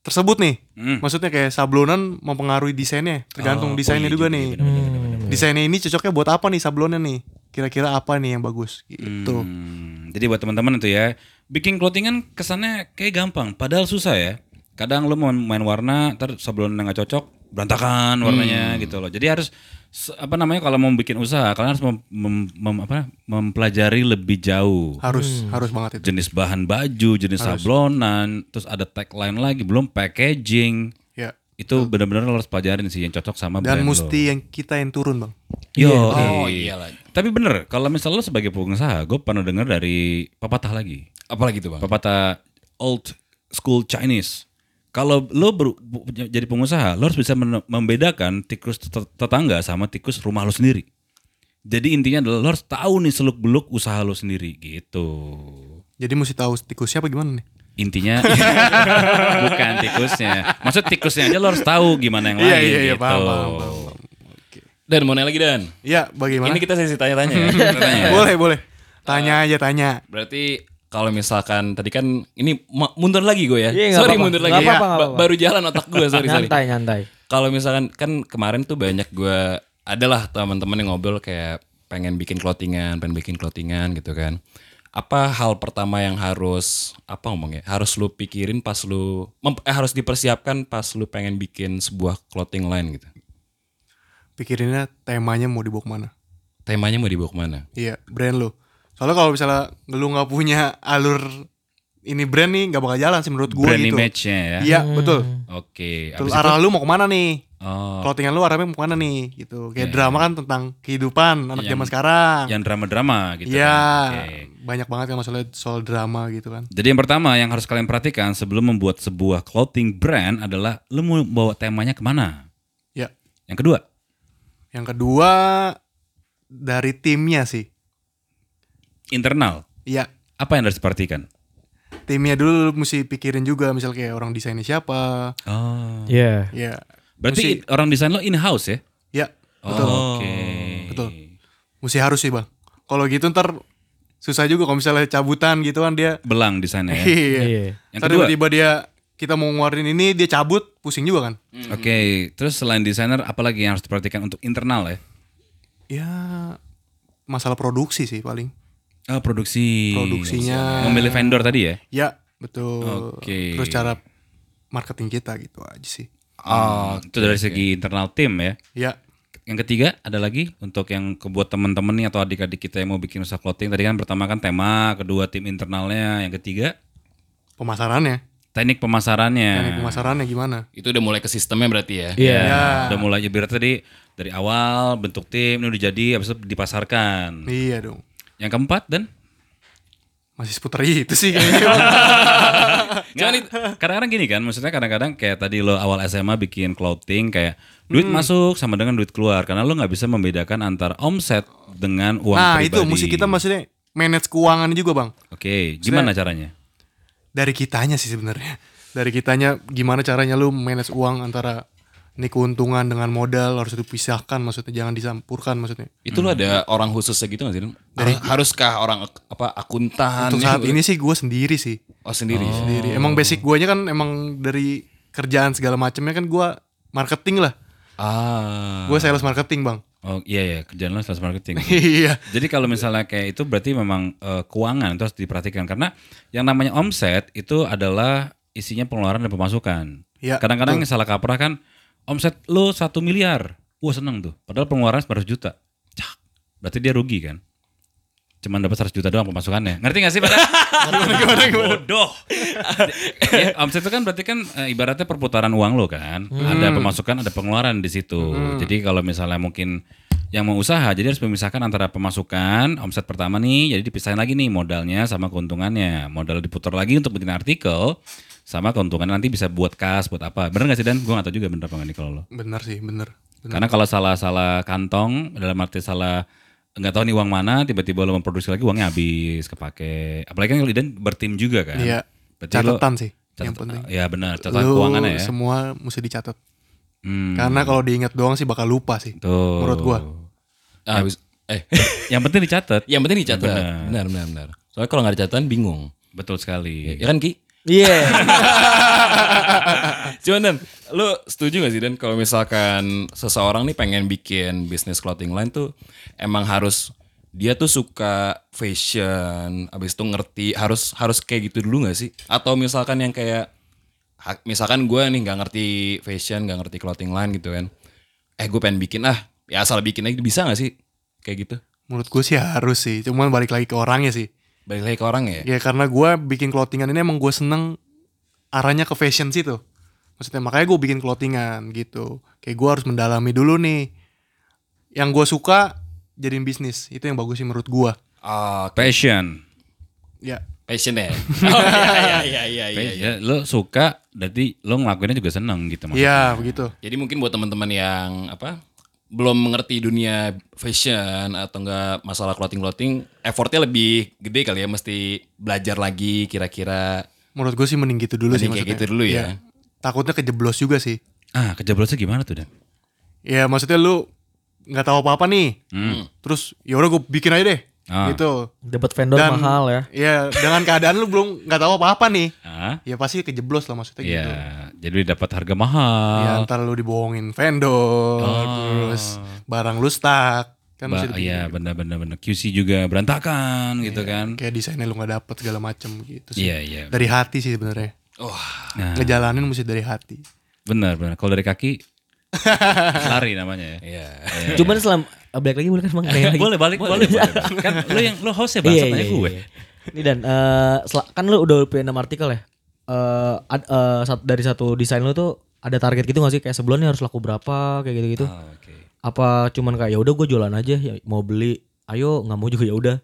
Speaker 6: tersebut nih.
Speaker 1: Hmm.
Speaker 6: Maksudnya kayak sablonan mempengaruhi desainnya,
Speaker 1: Oh,
Speaker 6: tergantung desainnya
Speaker 1: oh iya
Speaker 6: juga
Speaker 1: juga,
Speaker 6: nih.
Speaker 1: iya benar-benar,
Speaker 6: Desainnya ini cocoknya buat apa nih sablonnya nih? Kira-kira apa nih yang bagus gitu.
Speaker 1: Hmm, Jadi buat teman-teman itu ya, bikin clothingan kesannya kayak gampang, padahal susah ya. Kadang lo mau main warna, ntar sebelum nggak cocok, berantakan warnanya
Speaker 4: Hmm.
Speaker 1: gitu loh. Jadi harus se- apa namanya kalau mau bikin usaha, kalian harus mem- mem- mem- apa, mempelajari lebih jauh
Speaker 6: Harus harus banget itu.
Speaker 1: jenis bahan baju, jenis sablonan, terus ada tagline lagi, belum packaging.
Speaker 6: Ya.
Speaker 1: Itu benar-benar lo harus pelajarin sih yang cocok sama
Speaker 6: Dan
Speaker 1: brand lo.
Speaker 6: mesti yang kita yang turun, Bang.
Speaker 1: Yo,
Speaker 5: Oh
Speaker 1: eh.
Speaker 5: iya lagi.
Speaker 1: Tapi bener, kalau misalnya lo sebagai pengusaha, gue pernah dengar dari pepatah lagi.
Speaker 5: Apalagi tuh bang?
Speaker 1: pepatah old school Chinese. Kalau lo ber- bu- jadi pengusaha, lo harus bisa men- membedakan tikus tet- tetangga sama tikus rumah lo sendiri. Jadi intinya adalah lo harus tahu nih seluk beluk usaha lo sendiri gitu.
Speaker 6: Jadi mesti tahu tikusnya apa gimana nih.
Speaker 1: Intinya bukan tikusnya. Maksud tikusnya aja lo harus tahu gimana yang lain
Speaker 6: Iya, iya, iya,
Speaker 1: gitu.
Speaker 6: paham, paham, paham,
Speaker 5: Dan mau nanya lagi Dan.
Speaker 6: Ya, bagaimana?
Speaker 5: Ini kita sesi tanya-tanya ya.
Speaker 1: Tanya.
Speaker 6: Boleh, boleh. Tanya aja, tanya.
Speaker 5: Berarti kalau misalkan tadi kan ini ma- mundur lagi gue ya.
Speaker 4: Iya, nggak
Speaker 5: sorry
Speaker 4: apa-apa.
Speaker 5: mundur lagi.
Speaker 4: Nggak apa-apa,
Speaker 5: Ba-
Speaker 4: nggak apa-apa.
Speaker 5: Baru jalan otak gue sorry sorry.
Speaker 4: Nyantai nyantai.
Speaker 5: Kalau misalkan kan kemarin tuh banyak gue adalah teman-teman yang ngobrol kayak pengen bikin clothingan, pengen bikin clothingan gitu kan. Apa hal pertama yang harus apa ngomongnya? Harus lu pikirin pas lu mem- eh, harus dipersiapkan pas lu pengen bikin sebuah clothing line gitu.
Speaker 6: Pikirinnya temanya mau dibawa kemana.
Speaker 5: Temanya mau dibawa kemana?
Speaker 6: Iya, brand lo. Soalnya kalau misalnya lu nggak punya alur ini brand nih nggak bakal jalan sih menurut gue
Speaker 1: Brand
Speaker 6: gitu.
Speaker 1: image-nya ya.
Speaker 6: Iya, betul.
Speaker 1: Oke. Abis
Speaker 6: Terus
Speaker 1: itu,
Speaker 6: arah lu mau kemana nih?
Speaker 1: oh, Iya,
Speaker 6: Clothingan lu arahnya mau kemana nih? Gitu. Kayak drama kan tentang kehidupan anak zaman sekarang.
Speaker 1: yang drama-drama gitu.
Speaker 6: Iya,
Speaker 1: kan. Oke.
Speaker 6: banyak banget kan masalah soal drama gitu kan.
Speaker 1: Jadi yang pertama yang harus kalian perhatikan sebelum membuat sebuah clothing brand adalah lu mau bawa temanya kemana.
Speaker 6: Ya.
Speaker 1: Yang kedua,
Speaker 6: Yang kedua dari timnya sih.
Speaker 1: internal.
Speaker 6: Iya,
Speaker 1: Apa yang harus diperhatikan?
Speaker 6: timnya dulu lu mesti pikirin juga misal kayak orang desainnya siapa.
Speaker 1: Oh.
Speaker 4: Iya.
Speaker 6: Iya.
Speaker 1: Berarti orang desain lo in-house ya?
Speaker 6: Iya, betul.
Speaker 1: Oke.
Speaker 6: Betul.
Speaker 1: iya.
Speaker 6: Mesti harus sih bang. Kalau gitu ntar susah juga kalau misalnya cabutan gitu kan dia.
Speaker 1: Belang desainnya ya.
Speaker 6: Iya.
Speaker 4: Iya.
Speaker 1: Yang
Speaker 6: Ntar
Speaker 1: kedua.
Speaker 6: tiba-tiba dia kita mau ngeluarin ini dia cabut pusing juga kan.
Speaker 1: Oke, terus selain desainer apalagi yang harus diperhatikan untuk internal ya?
Speaker 6: Ya masalah produksi sih paling.
Speaker 1: Oh, produksi.
Speaker 6: Produksinya.
Speaker 1: Memilih vendor tadi ya?
Speaker 6: Ya betul.
Speaker 1: Oke.
Speaker 6: Terus cara marketing kita gitu aja sih.
Speaker 1: Oh, itu dari segi internal tim ya.
Speaker 6: Ya
Speaker 1: Yang ketiga ada lagi untuk yang ke- buat teman-teman nih atau adik-adik kita yang mau bikin usaha clothing. Tadi kan pertama kan tema, kedua tim internalnya, yang ketiga
Speaker 6: pemasarannya.
Speaker 1: teknik pemasarannya.
Speaker 6: Teknik pemasarannya gimana?
Speaker 5: Itu udah mulai ke sistemnya berarti ya.
Speaker 4: Iya.
Speaker 1: Udah mulai ibarat tadi dari awal bentuk tim ini udah jadi habis itu dipasarkan.
Speaker 6: Iya dong.
Speaker 1: Yang keempat dan
Speaker 6: Masih seputar itu sih kayaknya.
Speaker 1: Jangan itu. Kadang-kadang gini kan, maksudnya kadang-kadang kayak tadi lo awal SMA bikin clothing kayak duit
Speaker 6: Hmm.
Speaker 1: masuk sama dengan duit keluar karena lo nggak bisa membedakan antara omset dengan uang
Speaker 6: nah
Speaker 1: pribadi.
Speaker 6: itu mesti kita maksudnya manage keuangan juga bang.
Speaker 1: Oke, gimana caranya?
Speaker 6: dari kitanya sih sebenarnya dari kitanya gimana caranya lu manage uang antara ini keuntungan dengan modal harus dipisahkan maksudnya jangan disampurkan maksudnya
Speaker 5: Itu lu ada orang khususnya gitu gak sih? Dan? Haruskah orang ak- apa akuntan?
Speaker 6: untuk
Speaker 5: gitu?
Speaker 6: saat ini sih gue sendiri sih
Speaker 5: Oh sendiri.
Speaker 6: sendiri emang basic guanya kan emang dari kerjaan segala macamnya kan gua marketing lah
Speaker 5: Ah.
Speaker 6: gue sales marketing bang
Speaker 1: Oh iya ya, kerjaan lo sales marketing.
Speaker 6: iya
Speaker 1: Jadi kalau misalnya kayak itu berarti memang eh, keuangan itu harus diperhatikan karena yang namanya omset itu adalah isinya pengeluaran dan pemasukan.
Speaker 6: Ya,
Speaker 1: Kadang-kadang yang salah kaprah kan omset lo satu miliar, wah seneng tuh. Padahal pengeluaran 900 juta, cak. Berarti dia rugi kan? cuman dapat 100 juta doang pemasukannya. Ngerti gak sih pada? Bodoh. ya, omset itu kan berarti kan eh, ibaratnya perputaran uang lo kan.
Speaker 6: Hmm.
Speaker 1: Ada pemasukan, ada pengeluaran di situ. Jadi kalau misalnya mungkin yang mau usaha jadi harus memisahkan antara pemasukan omset pertama nih jadi dipisahin lagi nih modalnya sama keuntungannya modal diputar lagi untuk bikin artikel sama keuntungan nanti bisa buat kas buat apa bener gak sih dan gue gak tau juga bener apa gak nih kalau lo
Speaker 6: Bener sih, bener. bener.
Speaker 1: karena kalau salah-salah kantong dalam arti salah nggak tahu nih uang mana tiba-tiba lo memproduksi lagi uangnya habis kepake apalagi kan kalau Idan bertim juga kan
Speaker 6: Iya.
Speaker 1: Berarti lo-
Speaker 6: Catatan sih yang
Speaker 1: catatan-
Speaker 6: penting.
Speaker 1: ya benar catatan
Speaker 6: Lu
Speaker 1: keuangannya ya
Speaker 6: semua mesti dicatat.
Speaker 1: Hmm,
Speaker 6: Karena kalau diingat doang sih bakal lupa sih.
Speaker 1: tuh.
Speaker 6: Menurut gua.
Speaker 5: Ah, habis- eh
Speaker 1: yang penting dicatat
Speaker 5: yang penting dicatat. Benar, benar, benar. Soalnya kalau nggak dicatatan bingung.
Speaker 1: betul sekali
Speaker 5: Ya kan Ki?
Speaker 4: Iya.
Speaker 5: Cuman Dan, lu setuju gak sih Dan kalau misalkan seseorang nih pengen bikin bisnis clothing line tuh emang harus dia tuh suka fashion, abis itu ngerti harus harus kayak gitu dulu gak sih? Atau misalkan yang kayak ha- misalkan gue nih nggak ngerti fashion, nggak ngerti clothing line gitu kan? Eh gue pengen bikin ah, ya asal bikin aja bisa gak sih? Kayak gitu.
Speaker 6: Menurut gua sih harus sih. Cuman balik lagi ke orangnya sih.
Speaker 5: Balik lagi ke orang ya.
Speaker 6: Ya karena gua bikin clothingan ini emang gua seneng arahnya ke fashion sih tuh. Maksudnya makanya gua bikin clothingan gitu. Kayak gua harus mendalami dulu nih. Yang gua suka jadiin bisnis. Itu yang bagus sih menurut gua.
Speaker 5: Ah,
Speaker 1: passion
Speaker 6: Ya.
Speaker 5: passion ya. Oh, iya, iya, iya, iya, iya.
Speaker 1: Ya, lo suka, berarti lo ngelakuinnya juga seneng gitu maksudnya.
Speaker 6: Iya, begitu.
Speaker 5: Jadi mungkin buat teman-teman yang apa belum mengerti dunia fashion atau enggak masalah clothing clothing effortnya lebih gede kali ya mesti belajar lagi kira-kira
Speaker 6: Menurut gue sih mending gitu dulu sih
Speaker 5: Mending
Speaker 6: maksudnya.
Speaker 5: kayak gitu dulu ya.
Speaker 6: Takutnya kejeblos juga sih.
Speaker 1: Ah, kejeblosnya gimana tuh, Dan?
Speaker 6: Ya maksudnya lu nggak tahu apa-apa nih.
Speaker 5: Hmm.
Speaker 6: Terus ya udah gue bikin aja deh.
Speaker 1: Ah.
Speaker 6: Gitu.
Speaker 4: Dapat vendor mahal ya.
Speaker 6: Iya, dengan keadaan lu belum nggak tahu apa-apa nih.
Speaker 1: Ah,
Speaker 6: Ya pasti kejeblos lah maksudnya
Speaker 1: Iya,
Speaker 6: gitu.
Speaker 1: jadi dapat harga
Speaker 6: Ya
Speaker 1: mahal.
Speaker 6: ntar lu dibohongin vendor, terus barang lu stuck. Kan
Speaker 1: Oh. Ba-
Speaker 6: mesti dibikin.
Speaker 1: Iya, benar-benar benar. QC juga berantakan gitu kan.
Speaker 6: Kayak desainnya lu nggak dapet segala macem gitu sih.
Speaker 1: Iya, iya.
Speaker 6: Dari hati sih sebenarnya.
Speaker 1: Nah,
Speaker 6: Ngejalanin mesti dari hati.
Speaker 1: benar, benar. Kalau dari kaki lari namanya ya.
Speaker 4: Cuman selam balik lagi boleh kan Bang? Balik lagi.
Speaker 1: Eh, boleh balik, boleh, boleh. Kan lo yang lo host ya bahasa
Speaker 4: Iya,
Speaker 1: tanya
Speaker 4: iya, iya,
Speaker 1: gue.
Speaker 4: iya. Ini dan eh, sel- kan lu udah punya 6 artikel ya. Eh, ad- eh, sat- dari satu desain lu tuh ada target gitu gak sih kayak sebulan nih harus laku berapa kayak gitu-gitu.
Speaker 1: Ah,
Speaker 4: Apa cuman kayak ya udah gue jualan aja ya mau beli ayo nggak mau juga ya udah.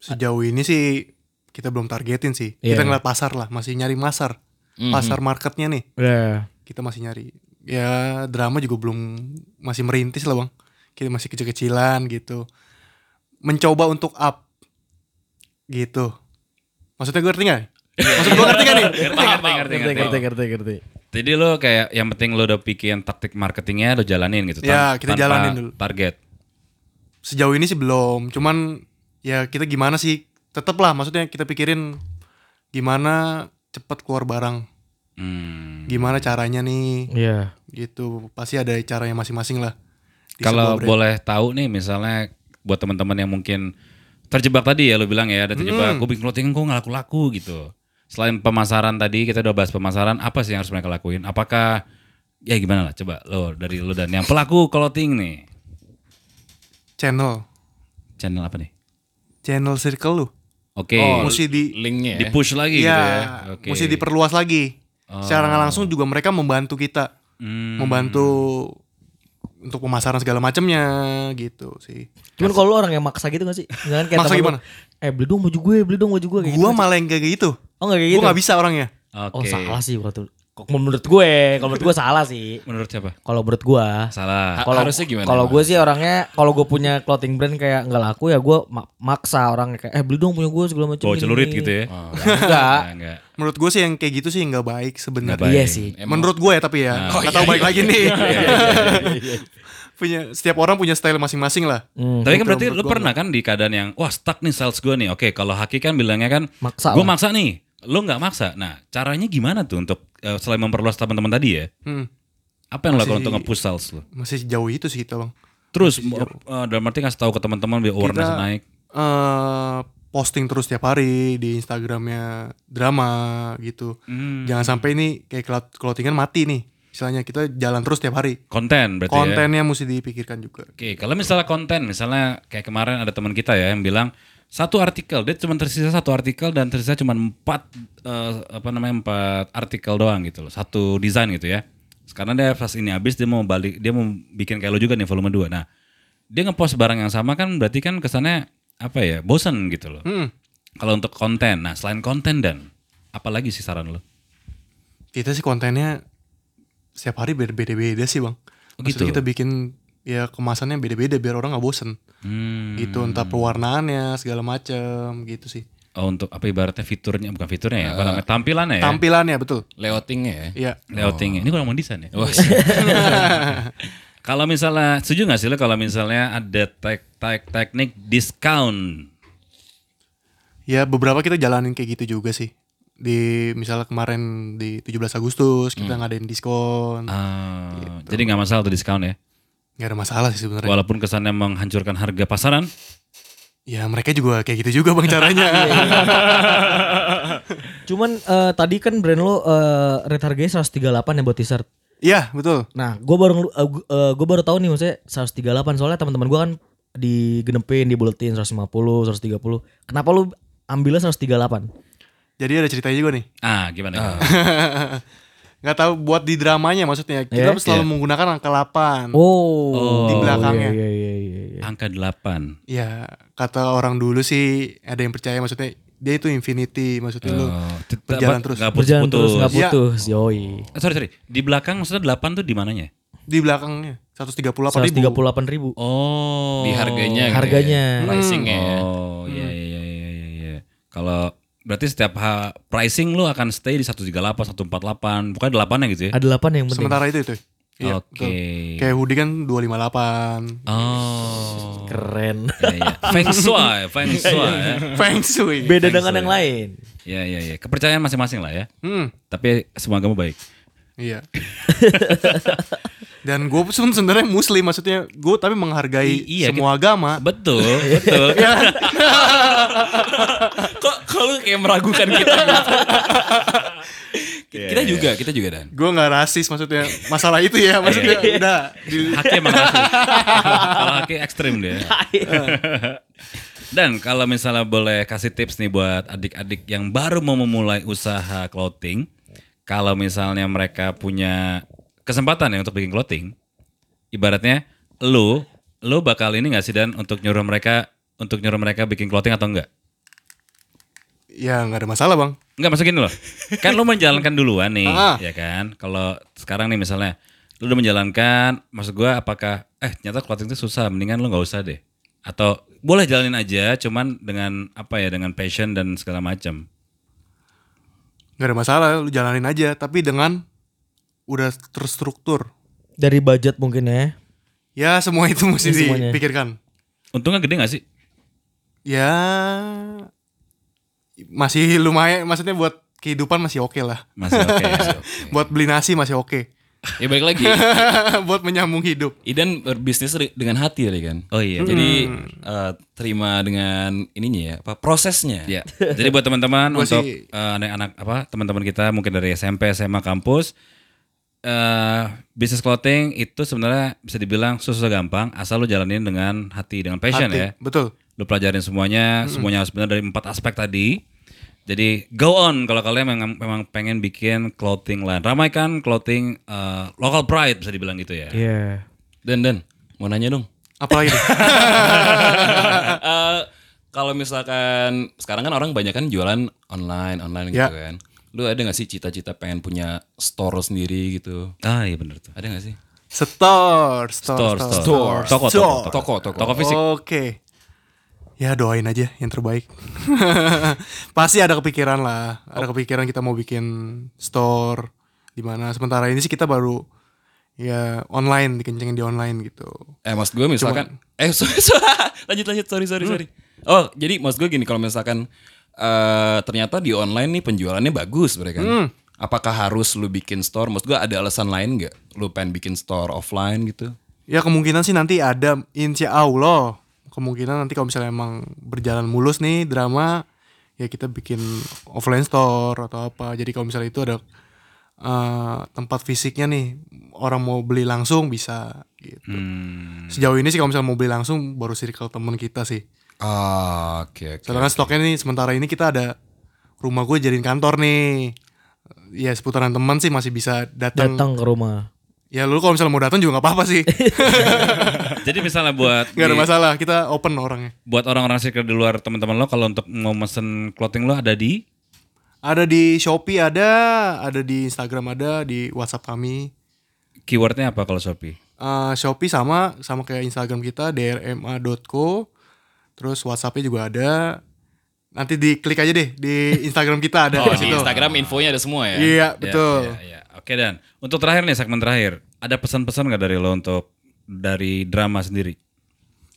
Speaker 6: Sejauh ini sih kita belum targetin sih. Kita
Speaker 4: Iya.
Speaker 6: ngeliat pasar lah, masih nyari pasar. Pasar marketnya nih,
Speaker 4: Iya.
Speaker 6: kita masih nyari. Ya drama juga belum masih merintis lah bang. Kita masih kecil-kecilan gitu. Mencoba untuk up gitu. Maksudnya gue ngerti gak? Maksud gue ngerti gak nih?
Speaker 1: Ngerti, ngerti, ngerti, ngerti.
Speaker 4: ngerti ngerti.
Speaker 1: Jadi lo kayak yang penting lo udah pikirin taktik marketingnya lo jalanin gitu. tan-
Speaker 6: Ya, kita
Speaker 1: tanpa
Speaker 6: jalanin dulu.
Speaker 1: Target.
Speaker 6: Sejauh ini sih belum. Cuman ya kita gimana sih? Tetep lah maksudnya kita pikirin gimana cepet keluar barang.
Speaker 1: Hmm.
Speaker 6: Gimana caranya nih?
Speaker 4: Iya.
Speaker 6: gitu pasti ada caranya masing-masing lah Di
Speaker 1: Kalau
Speaker 6: sebuah brand.
Speaker 1: boleh tahu nih misalnya buat teman-teman yang mungkin terjebak tadi ya lo bilang ya ada terjebak
Speaker 6: Hmm.
Speaker 1: gue bikin clothing kok nggak laku-laku gitu. Selain pemasaran tadi kita udah bahas pemasaran apa sih yang harus mereka lakuin? Apakah ya gimana lah coba lo dari lo dan yang pelaku clothing nih
Speaker 6: channel
Speaker 1: channel apa nih?
Speaker 6: channel circle lu
Speaker 1: Oke.
Speaker 6: mesti di
Speaker 5: linknya ya.
Speaker 1: Di push lagi
Speaker 6: Oh. ya,
Speaker 1: gitu ya. Oke. Oh.
Speaker 6: mesti diperluas lagi secara nggak langsung juga mereka membantu kita
Speaker 1: Hmm.
Speaker 6: membantu untuk pemasaran segala macamnya gitu sih
Speaker 4: Cuman kalau lu orang yang maksa gitu gak sih? Jangan kayak
Speaker 6: Maksa
Speaker 4: temen lu,
Speaker 6: gimana?
Speaker 4: Eh beli dong baju gue, beli dong baju gue kayak
Speaker 6: gua
Speaker 4: gitu.
Speaker 6: malah yang kayak gitu
Speaker 4: Oh enggak kayak
Speaker 6: gua
Speaker 4: gitu.
Speaker 6: nggak bisa orangnya
Speaker 1: Oke.
Speaker 4: Oh salah sih waktu kok menurut gue, kalau menurut gue salah sih.
Speaker 1: Menurut siapa?
Speaker 4: Kalau menurut gue
Speaker 6: Ah,
Speaker 1: Salah.
Speaker 5: Ha- harusnya gimana?
Speaker 4: Kalau gue sih orangnya, kalau gue punya clothing brand kayak nggak laku ya gue ma- maksa orang kayak eh beli dong punya gue segala macam.
Speaker 1: Bawa
Speaker 4: gini,
Speaker 1: celurit
Speaker 4: gini.
Speaker 1: gitu ya.
Speaker 4: Enggak.
Speaker 6: Ah.
Speaker 1: Nah, enggak.
Speaker 6: menurut gue sih yang kayak gitu sih nggak baik sebenarnya
Speaker 1: Nggak
Speaker 4: Iya
Speaker 1: Baik.
Speaker 4: sih.
Speaker 5: Emang-
Speaker 6: menurut gue ya tapi
Speaker 1: Nah.
Speaker 6: ya
Speaker 1: Oh,
Speaker 6: nggak
Speaker 1: iya,
Speaker 6: tahu baik lagi nih punya setiap orang punya style masing-masing lah
Speaker 1: Tapi kan berarti
Speaker 6: menurut
Speaker 1: lu
Speaker 6: gua
Speaker 1: pernah kan di keadaan yang wah stuck nih sales gue nih. Oke, kalau Haki kan bilangnya kan
Speaker 4: Maksa
Speaker 1: Gue
Speaker 4: lah.
Speaker 1: maksa nih. Lu nggak maksa. Nah, caranya gimana tuh untuk eh, selain memperluas teman-teman tadi ya?
Speaker 6: Hmm.
Speaker 1: Apa yang lo lakukan
Speaker 6: Masih-
Speaker 1: untuk nge-push sales lu?
Speaker 6: masih jauh itu sih kita bang
Speaker 1: Terus eh, dalam arti ngasih tahu ke teman-teman biar awareness
Speaker 6: Kita-
Speaker 1: naik.
Speaker 6: eh posting terus tiap hari di Instagramnya drama gitu.
Speaker 1: Hmm.
Speaker 6: Jangan sampai ini kayak cloud- clothingan mati nih. Istilahnya kita jalan terus tiap hari.
Speaker 1: Konten berarti ya.
Speaker 6: Kontennya mesti dipikirkan juga.
Speaker 1: Oke, kalau misalnya konten, misalnya kayak kemarin ada teman kita ya yang bilang Satu artikel, dia cuma tersisa satu artikel dan tersisa cuma empat eh, apa namanya empat artikel doang gitu loh. Satu desain gitu ya. Sekarang dia pas ini habis dia mau balik, dia mau bikin kayak lo juga nih volume 2. Nah, dia ngepost barang yang sama kan berarti kan kesannya apa ya? Bosen gitu loh.
Speaker 6: Hmm.
Speaker 1: Kalau untuk konten, nah selain konten dan apalagi sih saran lo?
Speaker 6: kita sih kontennya setiap hari beda-beda sih bang.
Speaker 1: Oh, gitu.
Speaker 6: Maksudnya kita bikin ya kemasannya beda-beda biar orang nggak bosen.
Speaker 1: Hmm.
Speaker 6: Gitu entah pewarnaannya segala macem gitu sih.
Speaker 1: Oh, untuk apa ibaratnya fiturnya bukan fiturnya ya, apa namanya tampilannya ya.
Speaker 6: Tampilannya betul.
Speaker 5: Layoutnya ya.
Speaker 6: Iya.
Speaker 1: Layouting. Ini kurang mau desain ya.
Speaker 5: Wah,
Speaker 1: Kalau misalnya setuju nggak sih lo kalau misalnya ada tek, tek, teknik discount?
Speaker 6: Ya beberapa kita jalanin kayak gitu juga sih. Di misalnya kemarin di 17 Agustus kita ngadain diskon.
Speaker 1: Ah, Jadi nggak masalah tuh discount ya.
Speaker 6: nggak ada masalah sih sebenarnya.
Speaker 1: Walaupun kesannya menghancurkan harga pasaran.
Speaker 6: Ya mereka juga kayak gitu juga bang caranya.
Speaker 4: Cuman eh, tadi kan brand lo eh, rate harganya 138 ya buat t-shirt.
Speaker 6: Iya betul.
Speaker 4: Nah, gue baru ngelu- eh, gu- eh, gua baru tahu nih maksudnya 138 soalnya teman-teman gue kan digenepin, dibuletin 150, 130. Kenapa lu ambilnya 138?
Speaker 6: Jadi ada ceritanya juga nih.
Speaker 1: Ah, gimana?
Speaker 6: nggak tahu buat di dramanya maksudnya. Kita selalu menggunakan angka 8.
Speaker 4: Oh,
Speaker 6: Di belakangnya.
Speaker 4: Iya, iya, iya, iya.
Speaker 1: Angka 8.
Speaker 6: Ya kata orang dulu sih ada yang percaya maksudnya dia itu infinity maksudnya lu
Speaker 1: Oh.
Speaker 6: berjalan terus.
Speaker 1: Gak putus,
Speaker 4: Berjalan terus nggak
Speaker 6: Iya.
Speaker 4: putus, yoi.
Speaker 1: Eh, Sorry, sorry. Di belakang maksudnya 8 tuh di mananya?
Speaker 6: Di belakangnya 138 ribu.
Speaker 4: 138 ribu.
Speaker 1: Oh.
Speaker 5: di harganya gitu ya.
Speaker 4: Harganya.
Speaker 5: Pricingnya ya.
Speaker 1: Oh, iya iya iya iya iya. Kalau berarti setiap ha- pricing lu akan stay di 138, 148, bukan 8 ya gitu ya.
Speaker 4: Ada 8 yang penting.
Speaker 6: Sementara itu itu. Iya,
Speaker 1: Oke.
Speaker 6: betul. Kayak hoodie kan 258.
Speaker 1: Oh.
Speaker 4: Keren.
Speaker 1: Iya, iya. Feng shui, feng shui ya.
Speaker 6: Feng Shui.
Speaker 4: Beda dengan yang lain.
Speaker 1: Iya iya iya. Kepercayaan masing-masing lah ya.
Speaker 6: Hmm,
Speaker 1: Tapi semua agama baik.
Speaker 6: iya. Dan gue pun sebenarnya muslim maksudnya gue tapi menghargai
Speaker 1: I- iya,
Speaker 6: semua agama.
Speaker 1: Betul, betul.
Speaker 5: Kok kalau kayak meragukan kita? gitu?
Speaker 1: iya,
Speaker 5: kita juga, kita juga dan.
Speaker 6: Gue nggak rasis maksudnya masalah itu ya maksudnya
Speaker 1: Iya.
Speaker 6: udah. Di-
Speaker 1: Haki emang haki. Kalau haki ekstrim dia. Dan kalau misalnya boleh kasih tips nih buat adik-adik yang baru mau memulai usaha clothing, kalau misalnya mereka punya kesempatan ya untuk bikin clothing, ibaratnya lu lu bakal ini nggak sih dan untuk nyuruh mereka untuk nyuruh mereka bikin clothing atau enggak?
Speaker 6: ya nggak ada masalah bang.
Speaker 1: Enggak maksud gini loh. Kan lu menjalankan duluan nih,
Speaker 6: Ah.
Speaker 1: ya kan? Kalau sekarang nih misalnya lu udah menjalankan, maksud gua apakah eh ternyata clothing itu susah, mendingan lu nggak usah deh. Atau boleh jalanin aja cuman dengan apa ya, dengan passion dan segala macam.
Speaker 6: Nggak ada masalah lu jalanin aja tapi dengan udah terstruktur.
Speaker 4: Dari budget mungkin ya.
Speaker 6: Ya semua itu mesti
Speaker 4: Ya, semuanya.
Speaker 6: dipikirkan.
Speaker 1: Untungnya gede gak sih?
Speaker 6: Ya masih lumayan maksudnya buat kehidupan masih oke lah.
Speaker 1: Masih oke. masih oke.
Speaker 6: Buat beli nasi masih oke.
Speaker 5: Ya balik lagi.
Speaker 6: buat menyambung hidup.
Speaker 5: Idan berbisnis ri- dengan hati tadi kan.
Speaker 1: Oh iya. Jadi
Speaker 5: Jadi eh, terima dengan ininya ya, apa prosesnya.
Speaker 1: ya. Jadi buat teman-teman
Speaker 6: Gua
Speaker 1: untuk
Speaker 6: sih-
Speaker 1: eh, anak-anak apa teman-teman kita mungkin dari SMP, SMA, kampus eh bisnis clothing itu sebenarnya bisa dibilang susah gampang asal lu jalanin dengan hati dengan passion
Speaker 6: Hati.
Speaker 1: ya.
Speaker 6: Betul.
Speaker 1: lu pelajarin semuanya, semuanya harus benar dari empat aspek tadi. Jadi go on kalau kalian memang, memang pengen bikin clothing line, ramaikan clothing uh, local pride bisa dibilang gitu ya.
Speaker 4: Iya.
Speaker 5: Dan dan mau nanya dong.
Speaker 6: Apalagi tuh?
Speaker 5: Eh, kalau misalkan sekarang kan orang banyak kan jualan online online
Speaker 6: Ya.
Speaker 5: gitu kan. Lu ada gak sih cita-cita pengen punya store sendiri gitu?
Speaker 1: Ah iya benar tuh.
Speaker 5: Ada gak sih?
Speaker 6: store,
Speaker 1: Store,
Speaker 6: store,
Speaker 1: store, toko, toko,
Speaker 6: Store.
Speaker 1: toko, toko, Toko fisik.
Speaker 6: Oke. Ya doain aja yang terbaik. Pasti ada kepikiran lah, ada kepikiran kita mau bikin store di mana. Sementara ini sih kita baru ya online dikencengin di online gitu.
Speaker 5: Eh maksud gue misalkan eh sorry, sorry. lanjut lanjut sorry sorry
Speaker 6: Hmm.
Speaker 5: sorry. Oh jadi maksud gue gini kalau misalkan eh ternyata di online nih penjualannya bagus berarti kan.
Speaker 6: Hmm.
Speaker 5: Apakah harus lu bikin store? Maksud gue ada alasan lain nggak? Lu pengen bikin store offline gitu?
Speaker 6: Ya kemungkinan sih nanti ada insya Allah kemungkinan nanti kalau misalnya emang berjalan mulus nih drama ya kita bikin offline store atau apa. Jadi kalau misalnya itu ada eh, tempat fisiknya nih orang mau beli
Speaker 5: Hmm.
Speaker 6: langsung bisa gitu. Sejauh ini sih kalau misalnya mau beli langsung baru circle temen kita sih.
Speaker 5: Ah, oke oke.
Speaker 6: Sedangkan stoknya nih sementara ini kita ada rumah gue jadiin kantor nih. Ya seputaran teman sih masih bisa datang.
Speaker 4: datang ke rumah.
Speaker 6: Ya lu kalau misalnya mau datang juga nggak apa-apa sih.
Speaker 1: Jadi misalnya buat
Speaker 6: Gak ada
Speaker 1: di-
Speaker 6: masalah, kita open orangnya.
Speaker 1: buat orang-orang circle di luar teman-teman lo kalau untuk mau mesen clothing lo ada di
Speaker 6: Ada di Shopee ada, ada di Instagram ada, di WhatsApp kami.
Speaker 1: keywordnya apa kalau Shopee?
Speaker 6: Eh, Shopee sama sama kayak Instagram kita drma.co. Terus WhatsAppnya juga ada. Nanti diklik aja deh di Instagram kita ada
Speaker 5: Oh,
Speaker 6: di
Speaker 5: di
Speaker 6: situ.
Speaker 5: Instagram infonya ada semua ya.
Speaker 6: Iya,
Speaker 1: Ya,
Speaker 6: betul.
Speaker 1: ya, ya. Oke dan untuk terakhir nih segmen terakhir ada pesan-pesan nggak dari lo untuk dari drama sendiri?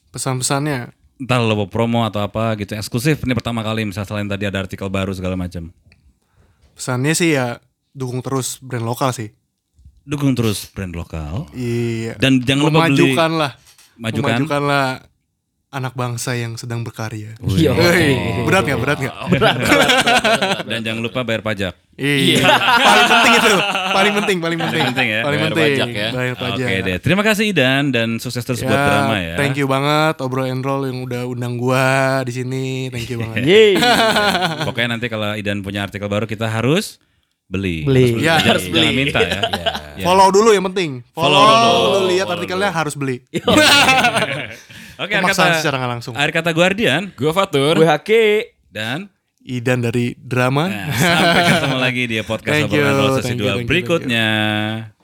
Speaker 6: Pesan-pesannya
Speaker 1: Entah lo mau promo atau apa gitu eksklusif ini pertama kali misalnya selain tadi ada artikel baru segala macam.
Speaker 6: pesannya sih ya dukung terus brand lokal sih.
Speaker 1: Dukung terus brand lokal.
Speaker 6: Iya.
Speaker 1: Dan jangan lupa beli-
Speaker 6: memajukanlah.
Speaker 1: Majukan?
Speaker 6: Memajukanlah anak bangsa yang sedang berkarya.
Speaker 4: Iya.
Speaker 6: Hei, berat nggak? Berat nggak?
Speaker 1: Dan jangan lupa bayar pajak.
Speaker 6: Iya. paling penting itu. Paling penting, paling penting.
Speaker 1: penting ya,
Speaker 6: Paling
Speaker 5: bayar
Speaker 6: penting.
Speaker 5: pajak ya.
Speaker 6: Bayar pajak.
Speaker 1: Oke deh. Terima kasih Idan dan sukses terus buat
Speaker 6: Ya,
Speaker 1: drama ya.
Speaker 6: Thank you banget obrol and roll yang udah undang gua di sini. Thank you banget.
Speaker 4: Yeay.
Speaker 1: Pokoknya nanti kalau Idan punya artikel baru kita harus beli.
Speaker 4: Beli.
Speaker 6: Ya,
Speaker 1: Jangan-
Speaker 6: harus beli.
Speaker 1: Jangan minta ya. Ya.
Speaker 6: Follow dulu yang penting. Follow,
Speaker 1: Follow dulu.
Speaker 6: lu lihat
Speaker 1: Follow
Speaker 6: artikelnya harus beli.
Speaker 1: Oke, akhir
Speaker 6: Pemaksaan secara
Speaker 1: kata,
Speaker 6: nggak langsung.
Speaker 1: akhir kata Guardian
Speaker 5: Gue Fatur.
Speaker 4: Gue Haki.
Speaker 1: dan
Speaker 6: Idan dari drama.
Speaker 1: nah, sampai ketemu lagi di podcast
Speaker 6: Thank you,
Speaker 1: obrolan Roll sesi
Speaker 6: thank you,
Speaker 1: dua
Speaker 6: thank you,
Speaker 1: berikutnya.